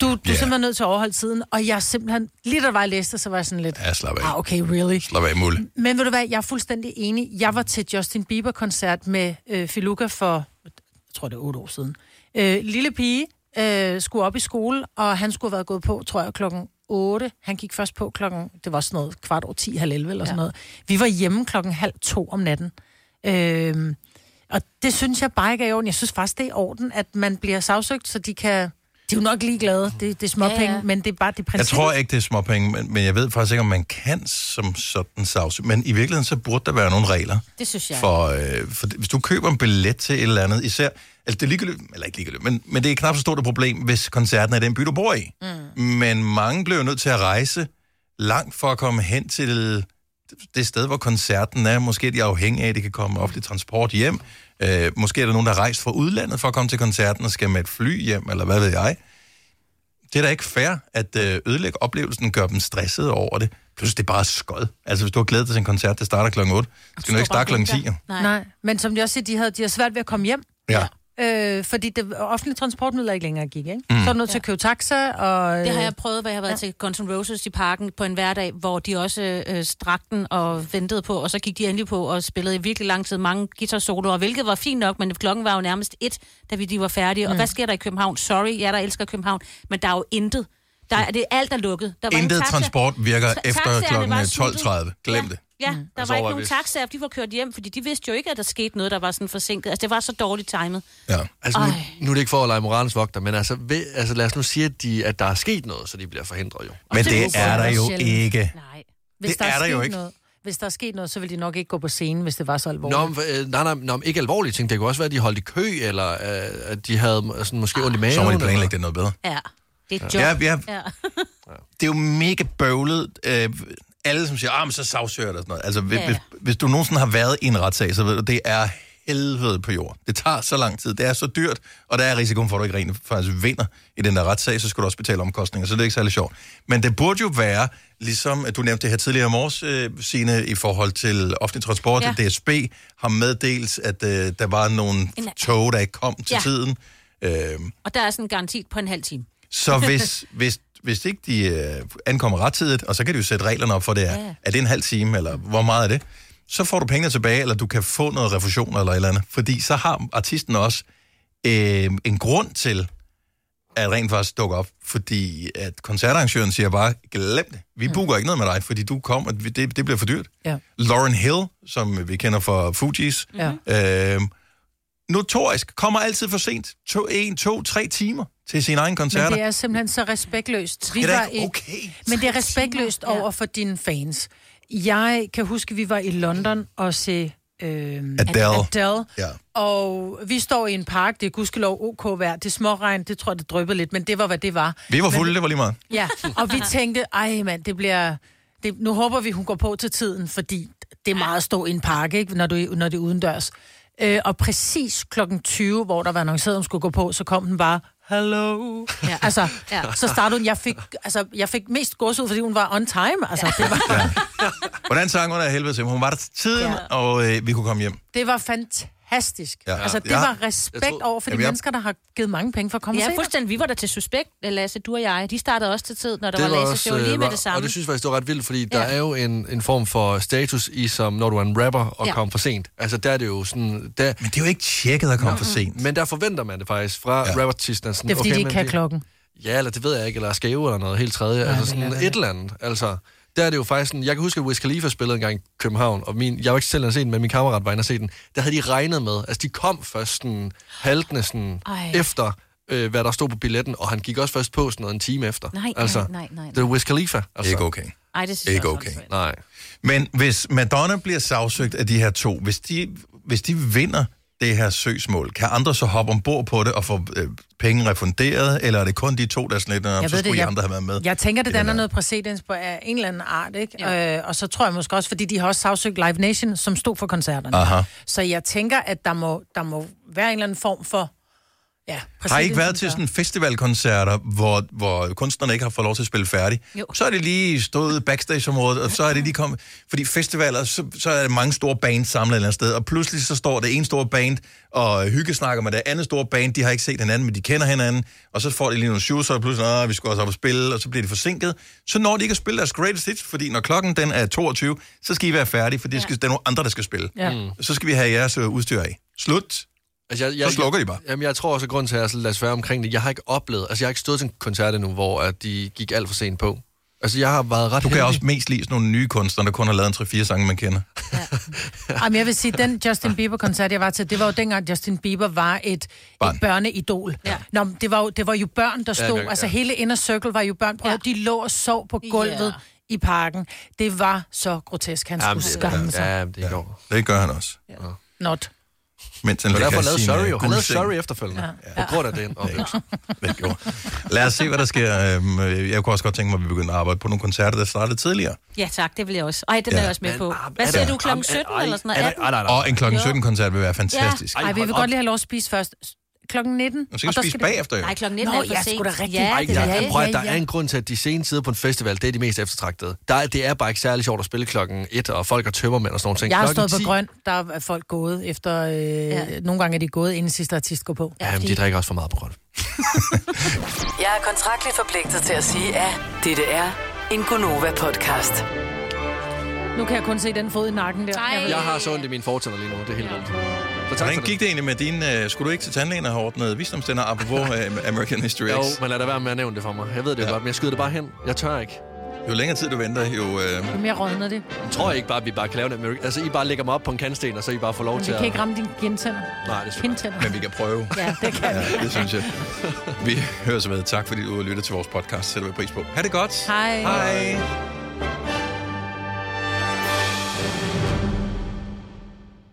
B: du, du yeah. er simpelthen nødt til at overholde tiden, og jeg er simpelthen, lige da jeg var og læste, det, så var jeg sådan lidt,
A: Ja, slap af.
B: ah, okay, really?
A: Slap af, Mulle.
B: Men ved du hvad, jeg er fuldstændig enig. Jeg var til Justin Bieber-koncert med øh, Filuka for, jeg tror det er otte år siden. Øh, lille pige øh, skulle op i skole, og han skulle have været gået på, tror jeg, klokken 8. Han gik først på klokken, det var sådan noget kvart over 10, halv 11 eller sådan noget. Vi var hjemme klokken halv to om natten. Øh, og det synes jeg bare ikke er i orden. Jeg synes faktisk, det er i orden, at man bliver sagsøgt, så de kan... De er jo nok ligeglade. Det, det er småpenge, ja, ja. men det er bare det princip.
A: Jeg tror ikke, det er småpenge, men, men jeg ved faktisk ikke, om man kan som sådan savs. Men i virkeligheden, så burde der være nogle regler.
E: Det synes jeg.
A: For, øh, for det- hvis du køber en billet til et eller andet, især... Altså, det er ligegyldigt, eller ikke ligegyldigt, men, men det er knap så stort et problem, hvis koncerten er i den by, du bor i. Mm. Men mange bliver jo nødt til at rejse langt for at komme hen til det sted, hvor koncerten er. Måske er de afhængige af, at de kan komme med offentlig transport hjem. Øh, måske er der nogen, der har rejst fra udlandet for at komme til koncerten og skal med et fly hjem, eller hvad ved jeg. Det er da ikke fair at øh, ødelægge oplevelsen, gøre dem stressede over det. Plus, det er bare skod. Altså, hvis du har glædet dig til en koncert, der starter klokken 8, så skal du ikke starte klokken 10. jo.
B: Nej. Nej, men som jeg også siger, de havde, de havde svært ved at komme hjem.
A: Ja.
B: Øh, fordi det offentlige transportmidler ikke længere gik, ikke?
E: Mm.
B: Mm. Så er du nødt til at købe taxa, og... øh,
E: Det har jeg prøvet, hvor jeg har været ja. til Guns N' Roses i parken på en hverdag, hvor de også øh, strak den og ventede på, og så gik de endelig på og spillede i virkelig lang tid mange guitar-soloer, hvilket var fint nok, men klokken var jo nærmest et, da vi de var færdige. Mm. Og
B: Mm.
E: hvad sker der i København? Sorry, jeg der elsker København, men der er jo intet. Der er, det er alt, der er lukket. Der var ingen
A: Intet
E: taxa.
A: transport virker
E: Ta-
A: efter
E: taxaerne
A: klokken
E: var
A: øh,
E: sluttet.
A: 12.30. Glem det.
E: Ja, der
A: Og så
E: var ikke
A: var
E: nogen
A: vist-
E: taxaer, for de var kørt hjem, fordi de vidste jo ikke, at der skete noget, der var sådan forsinket. Altså, det var så dårligt timet.
A: Ja.
C: Altså, nu,
E: Ej.
C: nu er det ikke for at lege moralens vogter, men altså, ved, altså lad os nu sige, at, de, at der er sket noget, så de bliver forhindret jo.
A: Men det er der jo ikke.
B: Hvis
C: Det
B: der
C: er der
B: sket
C: jo ikke.
B: Noget, hvis der er sket noget, så ville de nok ikke gå på scenen, hvis det var så alvorligt.
C: Nå, men, øh, nej, nej, nej, ikke alvorlige ting. Det kunne også være, at de holdt i kø, eller øh, at de havde øh, sådan, måske ondt i maven.
A: Så må de
C: eller-
A: planlægge det noget bedre.
E: Ja, det er et job.
A: Ja, ja.
E: ja.
A: Det er jo mega bøvlet. Øh, alle, som siger, ah, men så sagsøger det og sådan noget. Altså, hvis,
E: Ja,
A: ja,
E: ja.
A: Hvis, hvis du nogensinde har været i en retssag, så ved du, det er helvede på jord. Det tager så lang tid. Det er så dyrt, og der er risikoen for, at du ikke rent faktisk vinder i den der retssag, så skal du også betale omkostninger, så det er ikke særlig sjovt. Men det burde jo være, ligesom at du nævnte det her tidligere i morges, øh, Signe, i forhold til offentlig transport,
E: Ja.
A: ja. DSB har meddelt, at øh, der var nogle
E: En-
A: tog, der ikke kom til
E: Ja.
A: tiden. Øh,
E: Og der er sådan en garanti på en halv time.
A: så hvis, hvis hvis ikke de øh, ankommer rettidigt, og så kan de jo sætte reglerne op for, det er, ja. Mm. er det en halv time, eller hvor meget er det, så får du pengene tilbage, eller du kan få noget refusion eller et eller andet. Fordi så har artisten også øh, en grund til, at rent faktisk dukke op, fordi at koncertarrangøren siger bare, glem det, vi booker ikke noget med dig, fordi du kom, og vi- det, det bliver for dyrt.
B: Ja.
A: Lauren Hill, som vi kender fra Fugees, ja. øh, notorisk, kommer altid for sent, to, en, to, tre timer til sine egne koncerter.
B: Men det er simpelthen så respektløst.
A: Det er da
B: var
A: ikke
B: i- Men det er respektløst over for dine fans. Jeg kan huske, vi var i London og se øh,
A: Adele.
B: Adele.
A: Ja.
B: Og vi står i en park, det er gudskelov OK vejr, det er småregn, det tror jeg, det drøbbede lidt, men det var, hvad det var.
A: Vi var
B: Men-
A: fulde, det var lige meget.
B: Ja, og vi tænkte, ej mand, det bliver... Det, nu håber vi, hun går på til tiden, fordi det er meget at stå i en pakke, ikke, når, du, når det er udendørs. Øh, og præcis klokken 20, hvor der var annonceret, hun skulle gå på, så kom den bare, hello. Ja. Altså, ja. så startede hun, jeg fik, altså, jeg fik mest gods ud, fordi hun var on time. Altså, det, var,
A: Hvordan sang hun af helvede til? Hun var der til tiden, ja. og øh, vi kunne komme hjem.
B: det var fantastisk.
A: Ja.
B: Ja. Altså, det
A: Ja.
B: var respekt
A: Jeg tror-
B: over for de
A: Jamen, jeg-
B: mennesker, der har givet mange penge for at komme og
D: ja,
B: se dig.
D: fuldstændig. Vi var der til Suspekt, øh, Lasse, du og jeg. De startede også til tid, når der det var, var Lasse-show
C: øh,
D: lige med
C: var-
D: det samme.
C: Og det synes jeg faktisk, det var ret vildt, fordi ja. der er jo en, en form for status i, som når du er en rapper og
D: Ja.
C: ja. kommer for sent. Altså, der er det jo sådan... Der... Men
A: det er jo ikke tjekket at komme for sent.
C: Men der forventer man det faktisk fra ja. rappertisten.
B: Det er fordi, de ikke kan klokken.
C: Ja, eller det ved jeg ikke, eller er skæve eller noget helt tredje. Nej, altså
B: det
C: sådan
B: er det
C: et eller andet. Altså, der er det jo faktisk sådan, jeg kan huske, at Wiz Khalifa spillede engang i København, og min, jeg var ikke selv inde at se den, men min kammerat var inde og se den. Der havde de regnet med, altså de kom først sådan haltende sådan
D: Ej.
C: efter, øh, hvad der stod på billetten, og han gik også først på sådan noget en time efter.
D: Nej, nej,
C: altså,
D: nej, nej, nej.
C: Det er Wiz Khalifa. Altså.
A: Ikke okay.
D: Ej, det synes jeg
A: Ikke
D: også.
A: okay.
C: Nej.
A: Men hvis Madonna bliver sagsøgt af de her to, hvis de, hvis de vinder det her søgsmål, kan andre så hoppe ombord på det og få øh, penge refunderet, eller er det kun de to, der er sådan lidt, "Nå, så skulle det, I andre have været med?
B: Jeg tænker,
A: i
B: det
A: den
B: danner
A: her?"
B: noget præcedens på af en eller anden art, ikke? Ja. Øh, og så tror jeg måske også, fordi de har også sagsøgt Live Nation, som stod for koncerterne.
A: Aha.
B: Så jeg tænker, at der må, der må være en eller anden form for... Ja,
A: Har I ikke
B: præcedens, som
A: været til sådan festivalkoncerter, hvor, hvor kunstnerne ikke har fået lov til at spille færdig?
B: Jo.
A: Så er det lige stået i backstageområdet, og så er det lige kommet... Fordi festivaler, så, så er der mange store bands samlet et eller andet sted, og pludselig så står det ene store band og hyggesnakker med det andet store band. De har ikke set hinanden, men de kender hinanden. Og så får de lige nogle shoes, og pludselig, "Nå, vi skal også op og spille, og så bliver de forsinket. Så når de ikke at spille deres greatest hits, fordi når klokken den er 22, så skal I være færdige, for det, skal, der er nogle andre, der skal spille.
C: Ja.
A: Så skal vi have jeres øh, udstyr af. Slut.
C: Mm. Altså, jeg,
A: Så slukker de bare.
C: Jamen, jeg tror også, at grunden til, at jeg er så lidt svær omkring det, jeg har ikke oplevet, altså jeg har ikke stået til en koncert endnu, hvor at de gik alt for sent på. Altså, jeg har været ret
A: Du kan
C: heldig.
A: også mest lide sådan nogle nye kunstnere, der kun har lavet en 3-4 sange, man kender.
B: Ej, men jeg vil sige, den Justin Bieber-koncert, jeg var til, det var jo dengang, Justin Bieber var et, et børneidol. Ja. Nå, men det var, jo, det var jo børn, der
E: Ja,
B: stod. Ja,
E: det-
B: Altså
E: ja.
B: hele Inner Circle var jo børn. Prøv, ja. De lå og sov på gulvet i parken. Det var så grotesk, han skulle skamme sig.
C: Ja, det går.
A: Det gør han også.
C: Ja.
B: Not.
A: Mens han
C: Det var
A: ligger
C: derfor,
A: i
C: han lavede
A: sin, øh,
C: Sorry jo. Han lavede
A: guldseng.
C: Sorry efterfølgende. Ja. På grund af den oplevelse.
A: Lad os se, hvad der sker. Øhm, øh, Jeg kunne også godt tænke mig, at vi begyndte at arbejde på nogle koncerter, der startede tidligere.
D: Ja, tak, det vil jeg også. Ej, den ja. er jeg også med på. Hvad siger du, klokken 17 eller sådan noget? 18?
A: Og en klokken
D: Jo.
A: 17-koncert vil være fantastisk.
B: Ja. Ej, vi vil godt lige have lov at spise først. S- Klokken 19.
A: skal vi spise bagefter, jo. Nej,
B: klokken
D: 19
B: Nå,
D: er for
B: ja,
D: sent.
B: sgu da rigtigt.
D: Ja,
C: Ej,
B: det
C: der,
B: er-
C: ja, prøv, at- der er en grund til, at de sene sider på en festival, det er de mest eftertragtede. Der er, det er bare ikke særlig sjovt at spille klokken 1, og folk er tømmermænd og sådan nogle ting.
B: Jeg har
C: Klokken
B: stået på
C: 10,
B: grøn, der er folk gået efter... Øh, ja. Nogle gange er de gået, inden sidste artist går på.
C: Jamen, de drikker også for meget på grøn.
Q: Jeg er kontraktligt forpligtet til at sige, at dette er en Gonova-podcast.
B: Nu kan jeg kun se den fod i nakken der. Jeg ved-
C: Jeg har så ondt i mine fortænder lige nu, det er helt vildt. Så tak
A: Hvordan
C: for det.
A: gik det egentlig med din... øh, Skulle du ikke til tandlægen og have ordnet visdomstænder, apropos øh, American History X?
C: Jo, men lad da være med at nævne det for mig. Jeg ved det jo godt, men jeg skyder det bare hen. Jeg tør ikke.
A: Jo længere tid du venter, jo... Øh...
B: Jo mere rådner det.
C: Jeg tror ikke bare, at vi bare kan lave det. American- Altså, I bare lægger mig op på en kantsten, og så I bare får lov
B: Men
C: til
B: vi kan
C: at...
B: ikke ramme dine gentænder.
C: Nej, det er
B: Kindtænder.
A: Men vi kan prøve.
B: Ja, det kan vi.
A: ja, det synes jeg. Vi hører så med. Tak fordi du lytter til vores podcast. Sætter vi pris på. Ha' det godt.
B: Hej.
A: Hej.